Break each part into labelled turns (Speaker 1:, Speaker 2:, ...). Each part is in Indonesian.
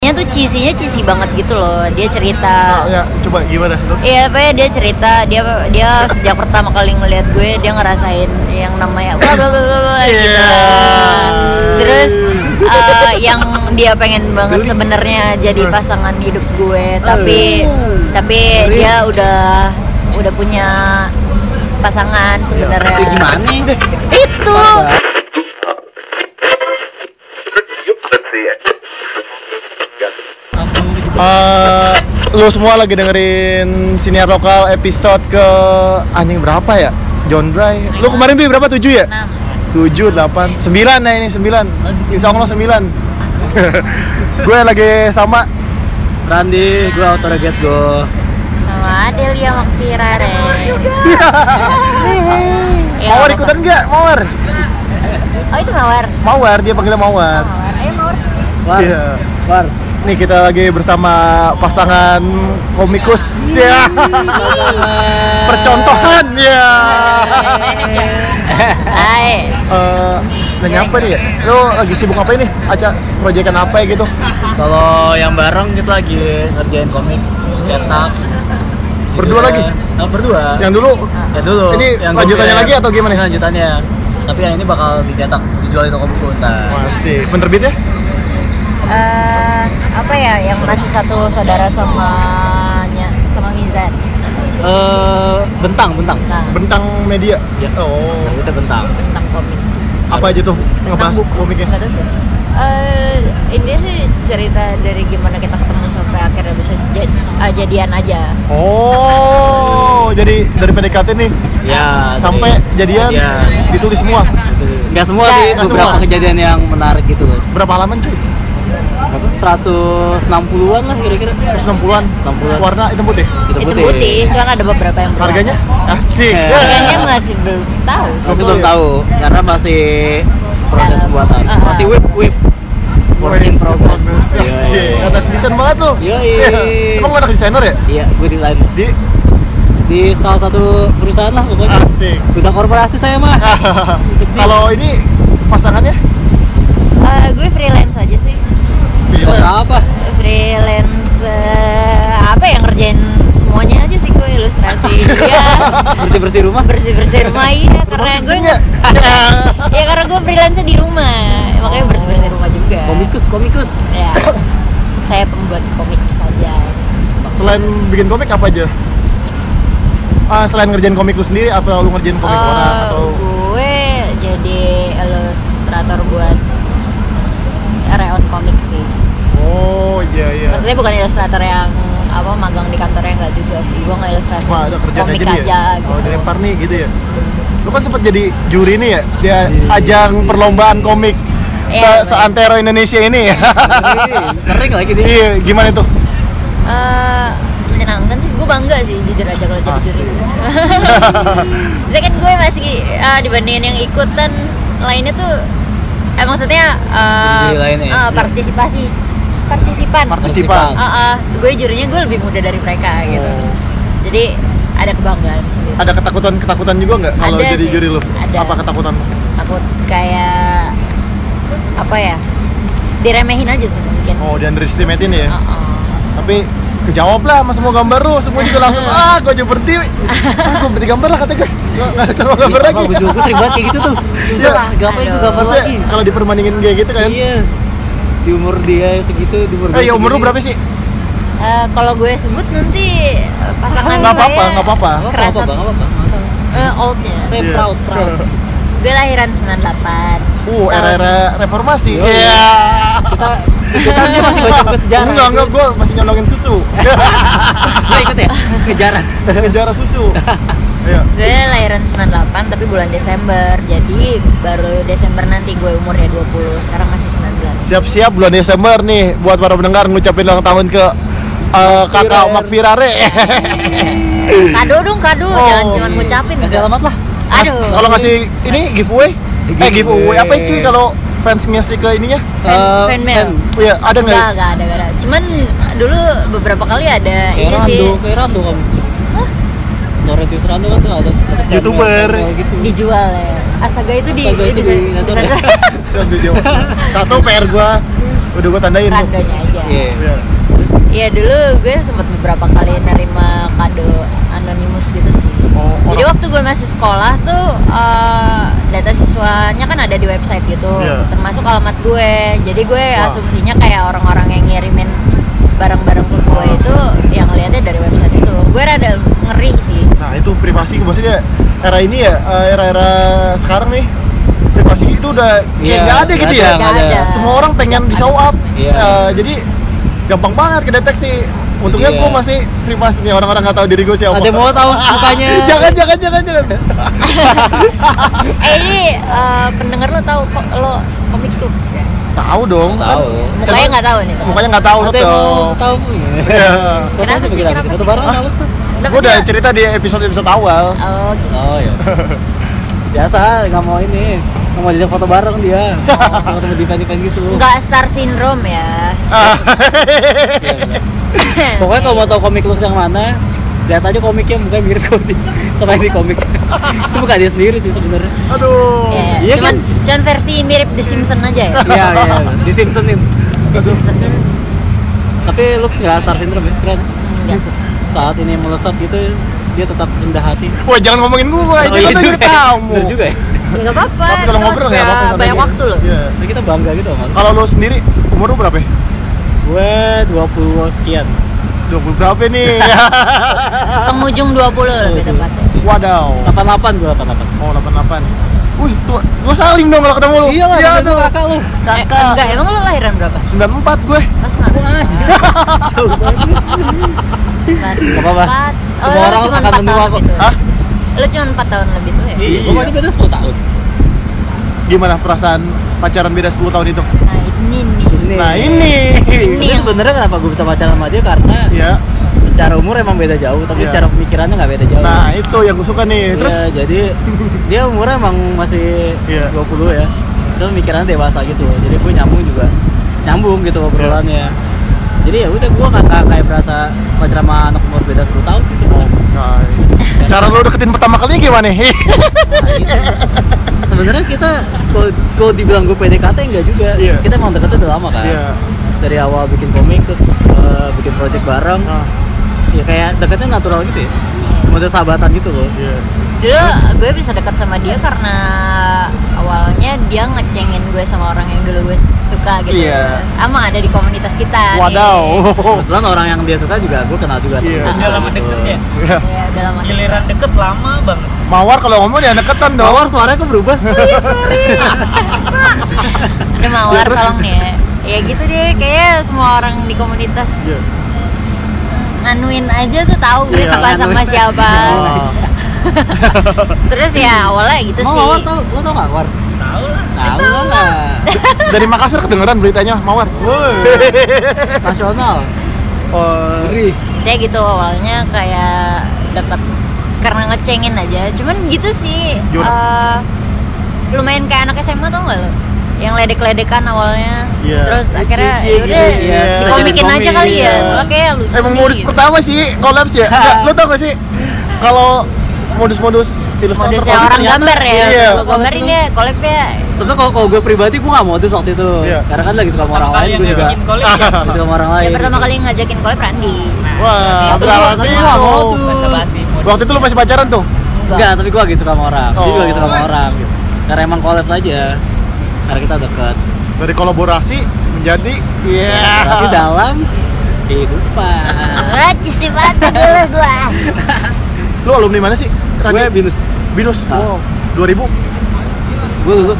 Speaker 1: filmnya tuh cheesy-nya cheesy banget gitu loh. Dia cerita
Speaker 2: Oh,
Speaker 3: ya coba gimana lu?
Speaker 1: Iya, pokoknya dia cerita dia dia sejak pertama kali ngeliat gue dia ngerasain yang namanya bla bla bla bla bla gitu
Speaker 3: Iya.
Speaker 1: kan. Terus eh, yang dia pengen banget
Speaker 3: Geli.
Speaker 1: sebenarnya jadi
Speaker 3: Eh.
Speaker 1: pasangan hidup gue, tapi
Speaker 3: Aduh.
Speaker 1: tapi
Speaker 3: Ngeri.
Speaker 1: dia udah udah punya pasangan sebenarnya.
Speaker 3: Iya.
Speaker 2: Tapi gimana?
Speaker 1: Itu.
Speaker 3: Eh, lu semua lagi dengerin siniar lokal episode ke anjing berapa ya? John Dry. Lu kemarin bi berapa? 7 ya?
Speaker 1: Nah,
Speaker 3: 7 8 9 nah ini 9. Insya Allah 9. Gue lagi sama
Speaker 2: Randi, gue auto target gue.
Speaker 1: sama Adelia Makfira Ya,
Speaker 3: Mawar
Speaker 1: apa-apa.
Speaker 3: ikutan nggak? Mawar.
Speaker 1: Oh itu Mawar.
Speaker 3: Mawar dia panggilnya Mawar.
Speaker 1: Mawar. Ayo Mawar.
Speaker 2: War,
Speaker 3: Iya.
Speaker 2: war.
Speaker 3: Nih kita lagi bersama pasangan komikus
Speaker 2: Iya.
Speaker 3: ya. Percontohan ya.
Speaker 2: Iya.
Speaker 1: Hai.
Speaker 3: Eh, nanya apa nih ya? Lu lagi sibuk apa ini? Aca proyekan apa ya gitu?
Speaker 2: Kalau yang bareng kita lagi ngerjain komik, cetak.
Speaker 3: Berdua
Speaker 2: Gitu.
Speaker 3: lagi?
Speaker 2: Nah, berdua.
Speaker 3: Yang dulu
Speaker 2: Ya dulu.
Speaker 3: Ini lanjutannya
Speaker 2: gue-
Speaker 3: lagi atau gimana?
Speaker 2: Ini lanjutannya. Tapi yang ini bakal dicetak, dijual di toko buku ntar.
Speaker 3: masih ya? penerbitnya?
Speaker 1: Eh, apa ya yang masih satu saudara sama nya- sama Mizan.
Speaker 2: Eh, bentang, bentang.
Speaker 1: Nah,
Speaker 3: Bentang media.
Speaker 2: Ya.
Speaker 3: Oh.
Speaker 2: Kita bentang.
Speaker 1: tentang komik.
Speaker 3: Apa aja tuh
Speaker 1: Tentang
Speaker 3: ngebahas
Speaker 1: buku.
Speaker 3: Oh, komiknya?
Speaker 1: Nggak tahu sih. Eh, ini sih cerita dari gimana kita ketemu sampai akhirnya bisa jad- ah, jadian aja.
Speaker 3: Oh, jadi dari PDKT nih
Speaker 2: Ya.
Speaker 3: sampai jadian ditulis semua.
Speaker 2: Enggak Iya. semua
Speaker 1: Nggak,
Speaker 2: sih,
Speaker 3: nggak
Speaker 2: beberapa
Speaker 3: semua.
Speaker 2: kejadian yang menarik gitu loh.
Speaker 3: Berapa halaman cuy?
Speaker 2: Berapa? 160-an lah kira-kira.
Speaker 3: 160-an.
Speaker 2: 160-an.
Speaker 3: Warna hitam putih.
Speaker 2: Hitam
Speaker 1: Itu putih, cuman ada beberapa yang berwarna.
Speaker 3: Harganya? Asik.
Speaker 2: Eh.
Speaker 1: Harganya masih belum tahu.
Speaker 3: Oh,
Speaker 2: Masih belum tahu karena masih proses
Speaker 1: Dalam.
Speaker 2: pembuatan.
Speaker 1: Ah, ah.
Speaker 2: Masih whip whip work in progress.
Speaker 3: Asik. Anak desain banget lu.
Speaker 2: Yoi.
Speaker 3: Emang lu anak desainer ya?
Speaker 2: Iya, gue desain
Speaker 3: Di
Speaker 2: di salah satu perusahaan lah pokoknya.
Speaker 3: asik. Ah,
Speaker 2: Udah korporasi saya mah.
Speaker 3: Kalau ini pasangannya?
Speaker 1: Eh, gue freelance aja sih.
Speaker 2: Gak
Speaker 3: Bila.
Speaker 2: apa?
Speaker 1: freelance eh, apa yang ngerjain semuanya aja sih gue ilustrasi ya
Speaker 2: Bersih bersih rumah.
Speaker 1: bersih bersih rumah iya karena gue
Speaker 3: Maksudnya?
Speaker 1: ya karena gue freelance di rumah makanya bersih bersih rumah juga
Speaker 2: Komikus komikus.
Speaker 1: ya saya pembuat komik saja
Speaker 3: Selain bikin komik apa aja? Ah, selain ngerjain komik lu sendiri apa lu ngerjain
Speaker 2: Ah.
Speaker 3: komik
Speaker 1: Eh,
Speaker 3: orang atau
Speaker 1: gue jadi ilustrator buat reon komik sih
Speaker 3: Oh, iya iya.
Speaker 1: maksudnya bukan ilustrator yang apa magang di kantornya nggak juga sih gue nggak ilustrasi
Speaker 3: Wah, ada kerjaan
Speaker 1: komik
Speaker 3: aja
Speaker 1: aja,
Speaker 3: nih ya.
Speaker 1: gitu.
Speaker 3: Oh, dilempar nih gitu ya. Lu kan sempat jadi juri nih ya, dia
Speaker 2: Iya.
Speaker 3: ajang perlombaan komik
Speaker 1: Iya,
Speaker 3: se- seantero Indonesia ini ya.
Speaker 2: Sering lagi dia.
Speaker 3: Iya, gimana tuh?
Speaker 1: Eh, menyenangkan sih gue bangga sih jujur aja kalau jadi juri
Speaker 3: Asik.
Speaker 1: saya kan gue masih eh, dibandingin yang ikutan lainnya tuh eh maksudnya eh,
Speaker 2: Juri lainnya ya?
Speaker 1: eh, partisipasi partisipan
Speaker 3: Iya. Partisipan.
Speaker 1: Eh, eh, gue jurinya gue lebih muda dari mereka gitu
Speaker 3: Oh.
Speaker 1: jadi ada kebanggaan sendiri
Speaker 3: Ada ketakutan-ketakutan juga nggak kalau
Speaker 1: Ada
Speaker 3: jadi
Speaker 1: sih,
Speaker 3: juri lu?
Speaker 1: ada.
Speaker 3: Apa ketakutan lu?
Speaker 1: takut kayak apa ya diremehin aja sih mungkin
Speaker 3: Oh, di underestimate-in ya.
Speaker 1: Eh, eh.
Speaker 3: Tapi kejawab lah sama semua gambar lu, semua juga langsung ah gue aja berhenti. Ah, gue berhenti gambar lah kata gue.
Speaker 2: Iya.
Speaker 3: Gua Nggak bisa sama gambar lagi.
Speaker 2: Gue juga sering banget kayak gitu tuh.
Speaker 3: Iya.
Speaker 2: Udah lah, gapain gue
Speaker 1: Aduh.
Speaker 2: gambar
Speaker 3: Maksudnya
Speaker 2: lagi.
Speaker 3: kalau diperbandingin kayak gitu kan.
Speaker 2: Iya. Di umur dia segitu, di umur
Speaker 3: Eh, ya
Speaker 2: gue
Speaker 3: umur lu
Speaker 2: segini.
Speaker 3: berapa sih?
Speaker 1: Eh, kalau gue sebut nanti eh, pasangan
Speaker 3: Nggak
Speaker 1: saya
Speaker 3: apa-apa, nggak apa-apa.
Speaker 2: Nggak
Speaker 1: Kerasa.
Speaker 2: apa-apa, nggak apa-apa. Nggak masalah.
Speaker 1: eh, oldnya
Speaker 2: Saya
Speaker 3: Iya.
Speaker 2: proud, proud.
Speaker 1: gue lahiran 98
Speaker 3: Uh, era-era reformasi.
Speaker 2: Iya. Nah. Kita kita dia masih baca buku sejarah.
Speaker 3: Enggak, enggak, gue masih nyolongin susu.
Speaker 2: Lo ikut ya? Sejarah.
Speaker 3: Penjara susu. Iya.
Speaker 1: gue lahiran 98 tapi bulan Desember jadi baru Desember nanti gue umurnya 20 sekarang masih 19
Speaker 3: Siap-siap bulan Desember nih buat para pendengar ngucapin ulang tahun ke eh, kakak
Speaker 2: Makfirare.
Speaker 3: Makfirare.
Speaker 2: Iya.
Speaker 1: kado dong kado
Speaker 3: Oh.
Speaker 1: jangan cuma ngucapin
Speaker 2: Kasih alamat lah.
Speaker 3: Mas,
Speaker 1: aduh
Speaker 3: Kalau ngasih ini giveaway, eh
Speaker 2: Giveaway.
Speaker 3: giveaway apa ya, cuy kalau fans ngasih ke ininya?
Speaker 1: Fan-
Speaker 2: Eh,
Speaker 1: fan mail.
Speaker 3: Oh iya, ada
Speaker 1: Nggak,
Speaker 3: nggak?
Speaker 1: nggak ada, nggak ada. Cuman dulu beberapa kali ada
Speaker 2: Kayak
Speaker 1: ini Iya sih
Speaker 2: Rando, kayak kan? Rando kamu. Noretius Rando kan suka ada ada fan mail,
Speaker 3: Youtuber.
Speaker 2: fan mail gitu.
Speaker 1: dijual ya. Astaga itu di
Speaker 2: Astaga, itu
Speaker 1: bisa-
Speaker 2: di-
Speaker 1: bisa-
Speaker 3: Satu jawab. Satu PR gua udah gue tandain lu.
Speaker 1: kadonya aja
Speaker 2: Iya.
Speaker 3: Iya.
Speaker 1: Iya dulu gue sempat beberapa kali nerima kado anonimus gitu sih.
Speaker 3: Oh,
Speaker 1: Jadi
Speaker 3: orang-
Speaker 1: waktu gue masih sekolah tuh eh, data siswanya kan ada di website gitu,
Speaker 3: Iya.
Speaker 1: termasuk alamat gue. Jadi gue
Speaker 3: Wah.
Speaker 1: asumsinya kayak orang-orang yang ngirimin barang-barang ke gue itu yang lihatnya dari website itu. Gue rada ngeri sih.
Speaker 3: Nah itu privasi maksudnya era ini ya eh, era-era sekarang nih privasi itu udah kayak
Speaker 2: Iya,
Speaker 3: nggak ada gitu ya.
Speaker 2: nggak
Speaker 1: Nggak
Speaker 2: ada.
Speaker 3: Semua orang pengen di show up.
Speaker 2: Iya.
Speaker 3: Eh, jadi gampang banget kedeteksi. Untungnya
Speaker 2: Iya.
Speaker 3: gue masih privasi nih orang-orang nggak tahu diri gue siapa.
Speaker 2: Ada yang mau tahu mukanya.
Speaker 3: jangan jangan jangan jangan.
Speaker 1: Eh ini eh, pendengar lo tahu kok lo komik Clubs ya?
Speaker 3: tahu dong. kan-
Speaker 2: Tahu.
Speaker 1: Mukanya nggak tahu nih.
Speaker 3: Mukanya nggak tahu.
Speaker 2: Ada yang mau
Speaker 3: dong.
Speaker 2: tahu ya.
Speaker 3: Iya.
Speaker 1: Kenapa sih,
Speaker 2: kita
Speaker 1: kenapa
Speaker 2: foto
Speaker 1: sih?
Speaker 2: bareng
Speaker 3: Ah.
Speaker 2: Alex?
Speaker 1: Tapi
Speaker 3: Gue udah
Speaker 1: dia-
Speaker 3: cerita di episode episode awal.
Speaker 1: Oh, gitu.
Speaker 2: Oh iya. Biasa nggak mau ini. Nggak mau diajak foto bareng dia. Mau ketemu di fan-fan gitu.
Speaker 1: nggak star syndrome ya.
Speaker 2: Iya, benar. Pokoknya kalau mau tahu komik looks yang mana, lihat aja komiknya mukanya mirip Cody sama ini komik. Itu bukan dia sendiri sih sebenarnya.
Speaker 3: Aduh.
Speaker 1: Iya,
Speaker 2: Iya
Speaker 1: cuman,
Speaker 2: kan?
Speaker 1: cuman versi mirip The Simpsons aja ya.
Speaker 2: Iya, iya. Di Simpsonin.
Speaker 1: The Simpsons kan
Speaker 2: Tapi looks nggak star syndrome ya, keren.
Speaker 1: enggak.
Speaker 2: Saat ini melesat gitu, dia tetap rendah hati.
Speaker 3: Wah jangan ngomongin gue,
Speaker 2: Oh,
Speaker 3: ini kan
Speaker 2: juga
Speaker 3: dari
Speaker 2: ya.
Speaker 3: tamu.
Speaker 2: Bener juga ya.
Speaker 1: Enggak apa-apa.
Speaker 3: Tapi kalau
Speaker 1: kita
Speaker 3: ngobrol ya,
Speaker 1: masih
Speaker 3: nggak apa-apa.
Speaker 1: punya
Speaker 3: sama
Speaker 1: Banyak
Speaker 3: dia.
Speaker 1: waktu loh.
Speaker 3: Iya.
Speaker 2: Tapi kita bangga gitu sama
Speaker 3: Kalau lu sendiri umur lu berapa? ya?
Speaker 2: Gue 20 sekian.
Speaker 3: 20 berapa nih?
Speaker 1: Penghujung 20 lebih
Speaker 2: Penghujung.
Speaker 1: tepatnya.
Speaker 3: Wadaw.
Speaker 2: 88 gue 88.
Speaker 3: Oh 88. Wih, tua, gua saling dong kalau ketemu lu.
Speaker 2: Iyalah,
Speaker 3: Iya
Speaker 2: ada
Speaker 3: dong.
Speaker 2: kakak lu.
Speaker 1: Eh, enggak,
Speaker 3: Kakak.
Speaker 1: emang lu lahiran berapa?
Speaker 3: 94 gue.
Speaker 1: Mas Mar.
Speaker 2: Jauh banget. Nggak apa-apa.
Speaker 1: Oh,
Speaker 2: Semua orang akan menua kok.
Speaker 3: Hah?
Speaker 1: gitu. Lu cuma 4 tahun lebih tuh ya?
Speaker 3: Iya.
Speaker 2: Gue masih beda 10 tahun.
Speaker 3: Gimana perasaan pacaran beda 10 tahun itu?
Speaker 1: Nah, ini nih.
Speaker 3: Nah, ini.
Speaker 1: Ini.
Speaker 2: Ini sebenarnya kenapa gue bisa pacaran sama dia karena
Speaker 3: Iya.
Speaker 2: secara umur emang beda jauh, tapi
Speaker 3: Iya.
Speaker 2: secara pemikirannya nggak beda jauh.
Speaker 3: Nah, itu yang gue suka nih.
Speaker 2: Iya,
Speaker 3: Terus
Speaker 2: jadi dia umurnya emang masih
Speaker 3: Iya.
Speaker 2: 20 ya. Terus pemikirannya dewasa gitu. Jadi gue nyambung juga. Nyambung gitu obrolannya.
Speaker 3: Iya.
Speaker 2: Jadi ya udah gue nggak nggak kayak berasa pacaran sama anak umur beda 10 tahun sih sebenarnya.
Speaker 3: Nah, cara lu deketin pertama kali gimana? Hih.
Speaker 2: Nah, gitu. sebenarnya kita kalau kalau dibilang gue PDKT enggak juga.
Speaker 3: Iya.
Speaker 2: Kita emang deketnya udah lama kan.
Speaker 3: Iya.
Speaker 2: Dari awal bikin komik terus eh, bikin project bareng.
Speaker 3: Nah,
Speaker 2: Ya kayak deketnya natural gitu ya. Model sahabatan gitu loh.
Speaker 3: iya.
Speaker 1: Dulu gue bisa dekat sama dia karena awalnya dia ngecengin gue sama orang yang dulu gue suka gitu.
Speaker 3: Iya.
Speaker 1: Sama ada di komunitas kita. nih.
Speaker 3: Wadaw.
Speaker 2: Kebetulan orang yang dia suka juga gue kenal juga.
Speaker 3: Oh. Iya.
Speaker 2: temen-temen
Speaker 4: Udah lama
Speaker 2: gitu.
Speaker 4: deket ya?
Speaker 3: Iya.
Speaker 1: Iya, udah lama.
Speaker 4: Giliran deket lama banget.
Speaker 3: Mawar kalau ngomong ya deketan dong.
Speaker 2: Mawar suaranya kok berubah?
Speaker 1: iya Ada mawar
Speaker 3: Ya, terus?
Speaker 1: tolong ya. Ya gitu deh, kayak semua orang di komunitas
Speaker 3: Iya.
Speaker 1: nganuin aja tuh tahu gue
Speaker 2: Iya,
Speaker 1: suka sama
Speaker 2: nganuin.
Speaker 1: siapa.
Speaker 3: Oh.
Speaker 1: Terus ya awalnya gitu
Speaker 2: Mau
Speaker 1: sih.
Speaker 2: Oh, Mawar tau, lo tau gak Mawar?
Speaker 4: Tahu lah.
Speaker 2: Tahu lah.
Speaker 3: Dari Makassar kedengeran beritanya Mawar.
Speaker 2: Nasional.
Speaker 3: Oh,
Speaker 2: Ngeri.
Speaker 1: Dia gitu awalnya kayak deket karena ngecengin aja. Cuman gitu sih.
Speaker 3: Jujur.
Speaker 1: eh, lumayan kayak anak SMA tau gak lo? Yang ledek-ledekan awalnya.
Speaker 3: Iya.
Speaker 1: Terus
Speaker 3: Cie-cie
Speaker 1: akhirnya
Speaker 3: gitu,
Speaker 1: yaudah
Speaker 3: iya.
Speaker 1: dikomikin
Speaker 3: Kita
Speaker 1: aja
Speaker 3: jadi
Speaker 1: kali
Speaker 3: komik,
Speaker 1: ya.
Speaker 3: iya.
Speaker 1: Soalnya kayak lucu.
Speaker 3: Emang
Speaker 1: nih,
Speaker 3: modus
Speaker 2: Iya.
Speaker 1: gitu.
Speaker 3: pertama sih kolaps ya? Enggak, lo tau gak sih? Kalau modus-modus ilustrator
Speaker 1: Modusnya
Speaker 3: komik
Speaker 1: orang
Speaker 3: ternyata-
Speaker 1: gambar ya.
Speaker 3: Iya.
Speaker 1: Kalau gambar ini ya, koleknya
Speaker 2: Sebenernya kalau kalau gue pribadi gue gak modus waktu itu.
Speaker 3: Iya.
Speaker 2: Karena kan lagi suka sama orang
Speaker 4: Pertama kali
Speaker 2: lain gue
Speaker 4: yang
Speaker 2: juga.
Speaker 4: bikin kolek ya.
Speaker 2: Lagi suka sama orang lain.
Speaker 1: Yang pertama
Speaker 2: gitu.
Speaker 1: kali ngajakin collab Randi.
Speaker 3: Nah. Wah, berarti
Speaker 2: tapi
Speaker 3: itu.
Speaker 2: gua modus.
Speaker 4: Bahasa basi.
Speaker 3: Waktu itu lo masih pacaran tuh?
Speaker 2: Enggak, tapi gue lagi suka sama orang. Jadi gue lagi suka sama
Speaker 3: Oh.
Speaker 2: orang gitu. Karena emang collab aja. Karena kita dekat.
Speaker 3: Dari kolaborasi menjadi iya.
Speaker 2: Berarti dalam kehidupan.
Speaker 1: Wajib sih banget dulu gua.
Speaker 3: Lo alumni mana sih?
Speaker 2: gue
Speaker 3: Radio
Speaker 2: binus.
Speaker 3: Binus.
Speaker 2: Ah.
Speaker 3: Wow. 2000.
Speaker 2: Gue lulus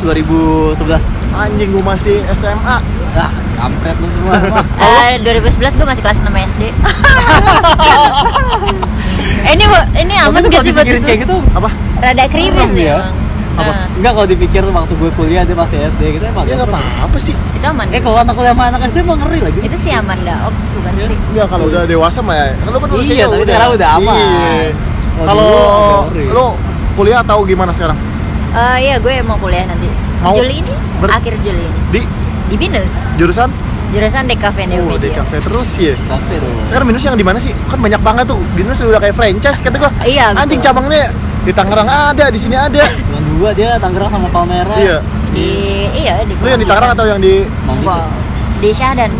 Speaker 2: 2011.
Speaker 3: Anjing gua masih SMA.
Speaker 2: Ah, kampret lu semua. Wah.
Speaker 1: Eh, 2011 gua masih kelas 6 SD. Eh, ini ini aman
Speaker 2: Tapi tuh
Speaker 1: gak
Speaker 2: kalau
Speaker 1: sih buat
Speaker 2: dipikirin kayak
Speaker 1: disu-
Speaker 2: gitu,
Speaker 3: Apa?
Speaker 1: Rada krimis
Speaker 2: Serem
Speaker 1: sih
Speaker 2: ya.
Speaker 1: emang.
Speaker 2: apa?
Speaker 1: Nah,
Speaker 2: Enggak kalau dipikir waktu gue kuliah dia masih SD gitu emang.
Speaker 3: Ya
Speaker 2: gitu.
Speaker 3: enggak apa-apa sih.
Speaker 1: itu aman.
Speaker 2: Eh kalau anak kuliah sama anak SD emang ngeri lagi.
Speaker 1: Itu sih aman dah. Oh, bukan
Speaker 2: Iya.
Speaker 1: sih.
Speaker 3: Ya kalau udah dewasa mah ya. Kan lo kan lulus
Speaker 2: Iya,
Speaker 3: itu
Speaker 2: tapi sekarang udah aman.
Speaker 3: Iya.
Speaker 2: Oh,
Speaker 3: Kalau
Speaker 2: dulu agak ngeri.
Speaker 3: lo kuliah atau gimana sekarang?
Speaker 1: Eh, iya gue mau kuliah nanti.
Speaker 3: Mau?
Speaker 1: Juli ini?
Speaker 3: Ber-
Speaker 1: Akhir Juli ini.
Speaker 3: Di
Speaker 1: Di Binus.
Speaker 3: jurusan?
Speaker 1: Jurusan DKV
Speaker 3: Oh, di
Speaker 1: Neomedia.
Speaker 3: kafe terus ya.
Speaker 2: Capek dong.
Speaker 3: Sekarang Binus yang di mana sih? Kan banyak banget tuh. Binus udah kayak franchise kata gua.
Speaker 1: Iya, betul.
Speaker 3: Anjing cabangnya di Tangerang ada, di sini ada.
Speaker 2: Cuman dua dia Tangerang sama Palmera.
Speaker 3: iya.
Speaker 1: Di iya di
Speaker 3: Lu yang di Tangerang atau yang di
Speaker 2: Mau gitu.
Speaker 1: Mongol. di Syahdan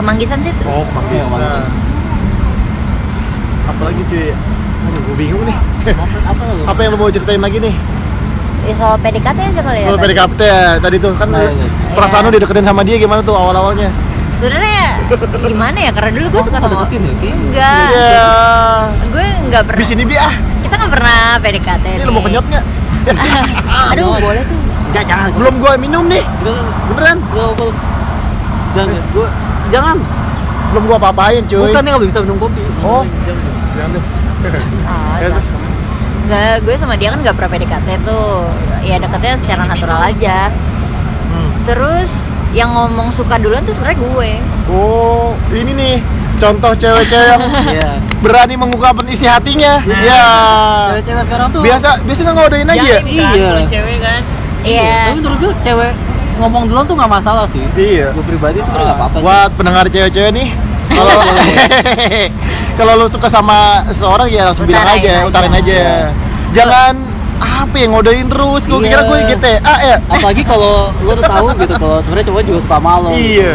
Speaker 1: Kemanggisan situ
Speaker 3: Oh,
Speaker 2: Iya,
Speaker 3: Manggisa.
Speaker 2: Manggisa.
Speaker 3: Apalagi cuy? Aduh, gue bingung nih.
Speaker 2: Apa- Eh, apa lu?
Speaker 3: Apa yang lo mau ceritain lagi nih?
Speaker 1: ya, soal PDKT aja kali ya
Speaker 3: Soal
Speaker 1: tadi.
Speaker 3: PDKT ya, tadi tuh kan
Speaker 2: Nah,
Speaker 3: lu-
Speaker 2: iya.
Speaker 3: perasaan lo dideketin sama dia gimana tuh awal-awalnya?
Speaker 1: sebenarnya gimana ya karena dulu gue suka
Speaker 2: Masa
Speaker 1: sama
Speaker 2: deketin ya? Iya.
Speaker 1: enggak
Speaker 3: Iya.
Speaker 1: gue nggak pernah
Speaker 3: Bis ini bi ah.
Speaker 1: kita nggak pernah PDKT
Speaker 3: Ini
Speaker 1: nih.
Speaker 3: lo mau kenyot nggak?
Speaker 1: aduh boleh tuh
Speaker 2: Enggak, jangan.
Speaker 3: Belum gua minum nih.
Speaker 2: Itu
Speaker 3: Beneran?
Speaker 2: lu lu- jangan ya? gua jangan.
Speaker 3: Belum gua apa-apain cuy.
Speaker 2: Bukan nih nggak bisa minum kopi.
Speaker 3: Oh.
Speaker 2: Jangan.
Speaker 3: Jangan deh.
Speaker 1: Ah,
Speaker 3: Ya, terus?
Speaker 1: nggak gue sama dia kan nggak pernah PDKT tuh ya deketnya secara natural aja
Speaker 3: Hmm.
Speaker 1: terus yang ngomong suka duluan tuh sebenarnya gue
Speaker 3: Oh, ini nih contoh cewek-cewek yang
Speaker 2: Iya.
Speaker 3: berani mengungkapkan isi hatinya.
Speaker 2: Nah.
Speaker 3: Ya.
Speaker 2: Cewek-cewek sekarang tuh
Speaker 3: Biasa biasa nggak ngodain aja ya?
Speaker 4: Yakin kan,
Speaker 2: Iya.
Speaker 4: kalau cewek kan
Speaker 1: iya
Speaker 2: Tapi menurut gue cewek ngomong duluan tuh nggak masalah sih.
Speaker 3: Iya.
Speaker 2: Gue pribadi sebenarnya nggak apa-apa. sih.
Speaker 3: Buat pendengar cewek-cewek nih, kalau kalau lu suka sama seorang ya langsung bilang
Speaker 1: Utarain
Speaker 3: aja,
Speaker 1: aja.
Speaker 3: utarain aja. Jangan apa yang ngodain terus. Gue
Speaker 2: Iya.
Speaker 3: kira gue GTA ya.
Speaker 2: Apalagi kalau lu udah tahu gitu kalau sebenarnya cowok juga suka gitu. malu.
Speaker 3: Iya.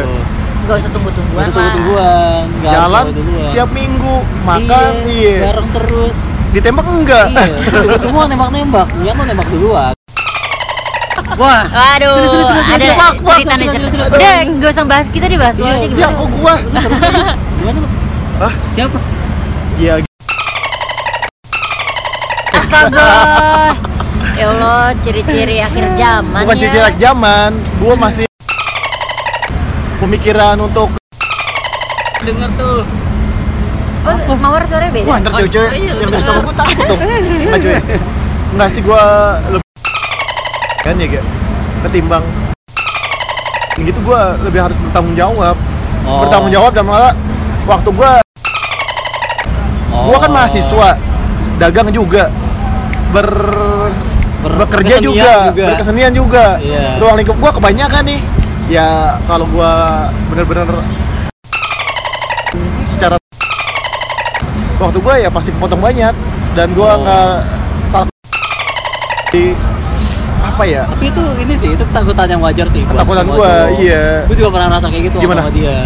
Speaker 1: nggak usah tunggu tungguan
Speaker 2: Gitu.
Speaker 1: lah
Speaker 2: tungguan
Speaker 3: Jalan setiap minggu, makan iya.
Speaker 2: Bareng terus.
Speaker 3: Ditembak enggak?
Speaker 2: iya. Tungguan nembak-nembak. Iya mau nembak duluan. Wah.
Speaker 1: Waduh, ada
Speaker 2: cerita, cerita, cerita,
Speaker 1: cerita nih
Speaker 2: cerita,
Speaker 1: cerita.
Speaker 2: cerita.
Speaker 1: Udah, gak usah bahas kita deh bahas luarnya
Speaker 3: Ya
Speaker 1: gimana?
Speaker 3: kok gua.
Speaker 2: Lu seru kan? Iya, Gimana lu?
Speaker 3: Hah?
Speaker 2: Siapa?
Speaker 3: Ya
Speaker 1: Astaga. Ya Allah, ciri-ciri akhir zaman
Speaker 3: bukan
Speaker 1: ya.
Speaker 3: ciri jelek zaman, gua masih pemikiran untuk
Speaker 4: denger tuh
Speaker 1: Oh, mawar suaranya beda.
Speaker 3: Wah, ntar cewek-cewek
Speaker 4: Oh, iya,
Speaker 3: yang
Speaker 4: bener.
Speaker 3: dari sama gue takut dong. Nggak cuy. Nggak sih gue lebih kan ya kayak ketimbang Yang gitu gue lebih harus bertanggung jawab.
Speaker 2: Oh.
Speaker 3: Bertanggung jawab dan malah waktu gue gue
Speaker 2: Oh.
Speaker 3: kan mahasiswa, dagang juga, ber,
Speaker 2: Ber-
Speaker 3: bekerja
Speaker 2: berkesenian
Speaker 3: juga,
Speaker 2: juga.
Speaker 3: berkesenian juga.
Speaker 2: Iya.
Speaker 3: Ruang lingkup gue kebanyakan nih. Ya kalau gue bener-bener secara waktu gue ya pasti kepotong banyak dan gue
Speaker 2: Oh.
Speaker 3: nggak salah di apa ya
Speaker 2: Tapi itu ini sih, itu ketakutan yang wajar sih. buat
Speaker 3: Ketakutan
Speaker 2: semua
Speaker 3: gua,
Speaker 2: cowok.
Speaker 3: iya.
Speaker 2: Gua juga pernah ngerasa kayak gitu
Speaker 3: Gimana?
Speaker 2: sama dia.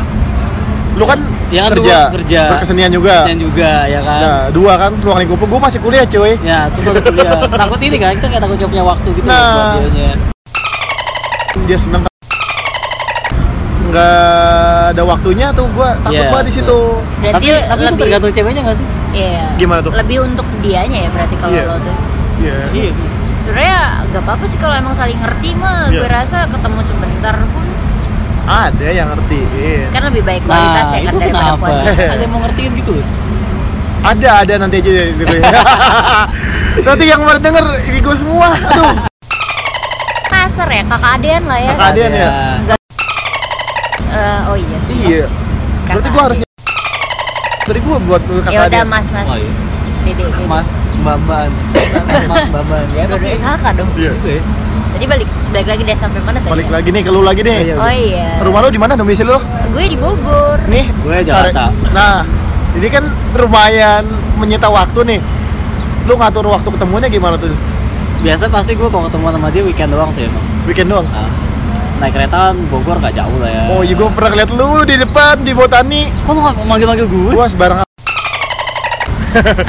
Speaker 3: lu kan
Speaker 2: Ya kan
Speaker 3: kerja,
Speaker 2: gua kerja.
Speaker 3: berkesenian juga
Speaker 2: Dan juga ya kan.
Speaker 3: nah dua kan ruang lingkup gue masih kuliah cuy
Speaker 2: Ya, terus waktu kuliah. takut ini kan, kita kayak takut nggak punya waktu gitu
Speaker 3: Nah.
Speaker 2: loh buat dianya.
Speaker 3: dia seneng nggak ada waktunya tuh gue takut
Speaker 2: Iya,
Speaker 3: banget di situ
Speaker 1: Berarti
Speaker 2: Tapi, tapi itu
Speaker 1: lebih
Speaker 2: tergantung ceweknya nggak sih?
Speaker 1: Iya.
Speaker 3: Gimana tuh?
Speaker 1: Lebih untuk dianya ya berarti kalau
Speaker 3: Iya.
Speaker 1: lo tuh.
Speaker 3: Iya.
Speaker 2: Iya.
Speaker 1: Sebenarnya gak apa-apa sih kalau emang saling ngerti mah.
Speaker 3: Iya.
Speaker 1: Gue rasa ketemu sebentar pun
Speaker 3: ada yang ngerti
Speaker 1: kan lebih baik kualitas
Speaker 2: Nah,
Speaker 1: ya kan
Speaker 2: itu
Speaker 1: daripada
Speaker 2: kenapa?
Speaker 1: kuantitas.
Speaker 2: Ada yang mau ngertiin gitu loh.
Speaker 3: ada ada nanti aja deh, gitu ya nanti yang mendengar ini gue semua aduh
Speaker 1: Kasar ya, kakak adean lah ya.
Speaker 3: Kakak Keadilan ya?
Speaker 1: Eh, oh iya sih.
Speaker 3: iya
Speaker 1: Kakak
Speaker 3: berarti gue harus
Speaker 1: adik.
Speaker 3: dari gue buat kakak
Speaker 1: Ya udah
Speaker 3: adik.
Speaker 1: Mas, Mas.
Speaker 2: Oh, iya.
Speaker 1: Dede, dede.
Speaker 2: Mas Bamban. Mas Bamban. Ya, tapi
Speaker 1: Dede kakak dong.
Speaker 3: Iya.
Speaker 2: gitu ya.
Speaker 1: Tadi balik balik lagi deh sampai mana tadi?
Speaker 3: balik lagi nih ke lu lagi nih
Speaker 2: Iya.
Speaker 1: Oh iya.
Speaker 3: rumah lu di mana domisili lu
Speaker 1: Gue di Bogor.
Speaker 3: nih
Speaker 2: Gue
Speaker 3: Kare-
Speaker 2: Jakarta.
Speaker 3: nah ini kan lumayan menyita waktu nih lu ngatur waktu ketemunya gimana tuh
Speaker 2: Biasa pasti gue kalau ketemu sama dia weekend doang sih emang.
Speaker 3: weekend doang
Speaker 2: Nah, naik kereta kan Bogor nggak jauh lah ya.
Speaker 3: oh iya gue pernah liat lu di depan di botani
Speaker 2: Kok lu nggak manggil-manggil gue?
Speaker 3: gua sebarang
Speaker 1: Oh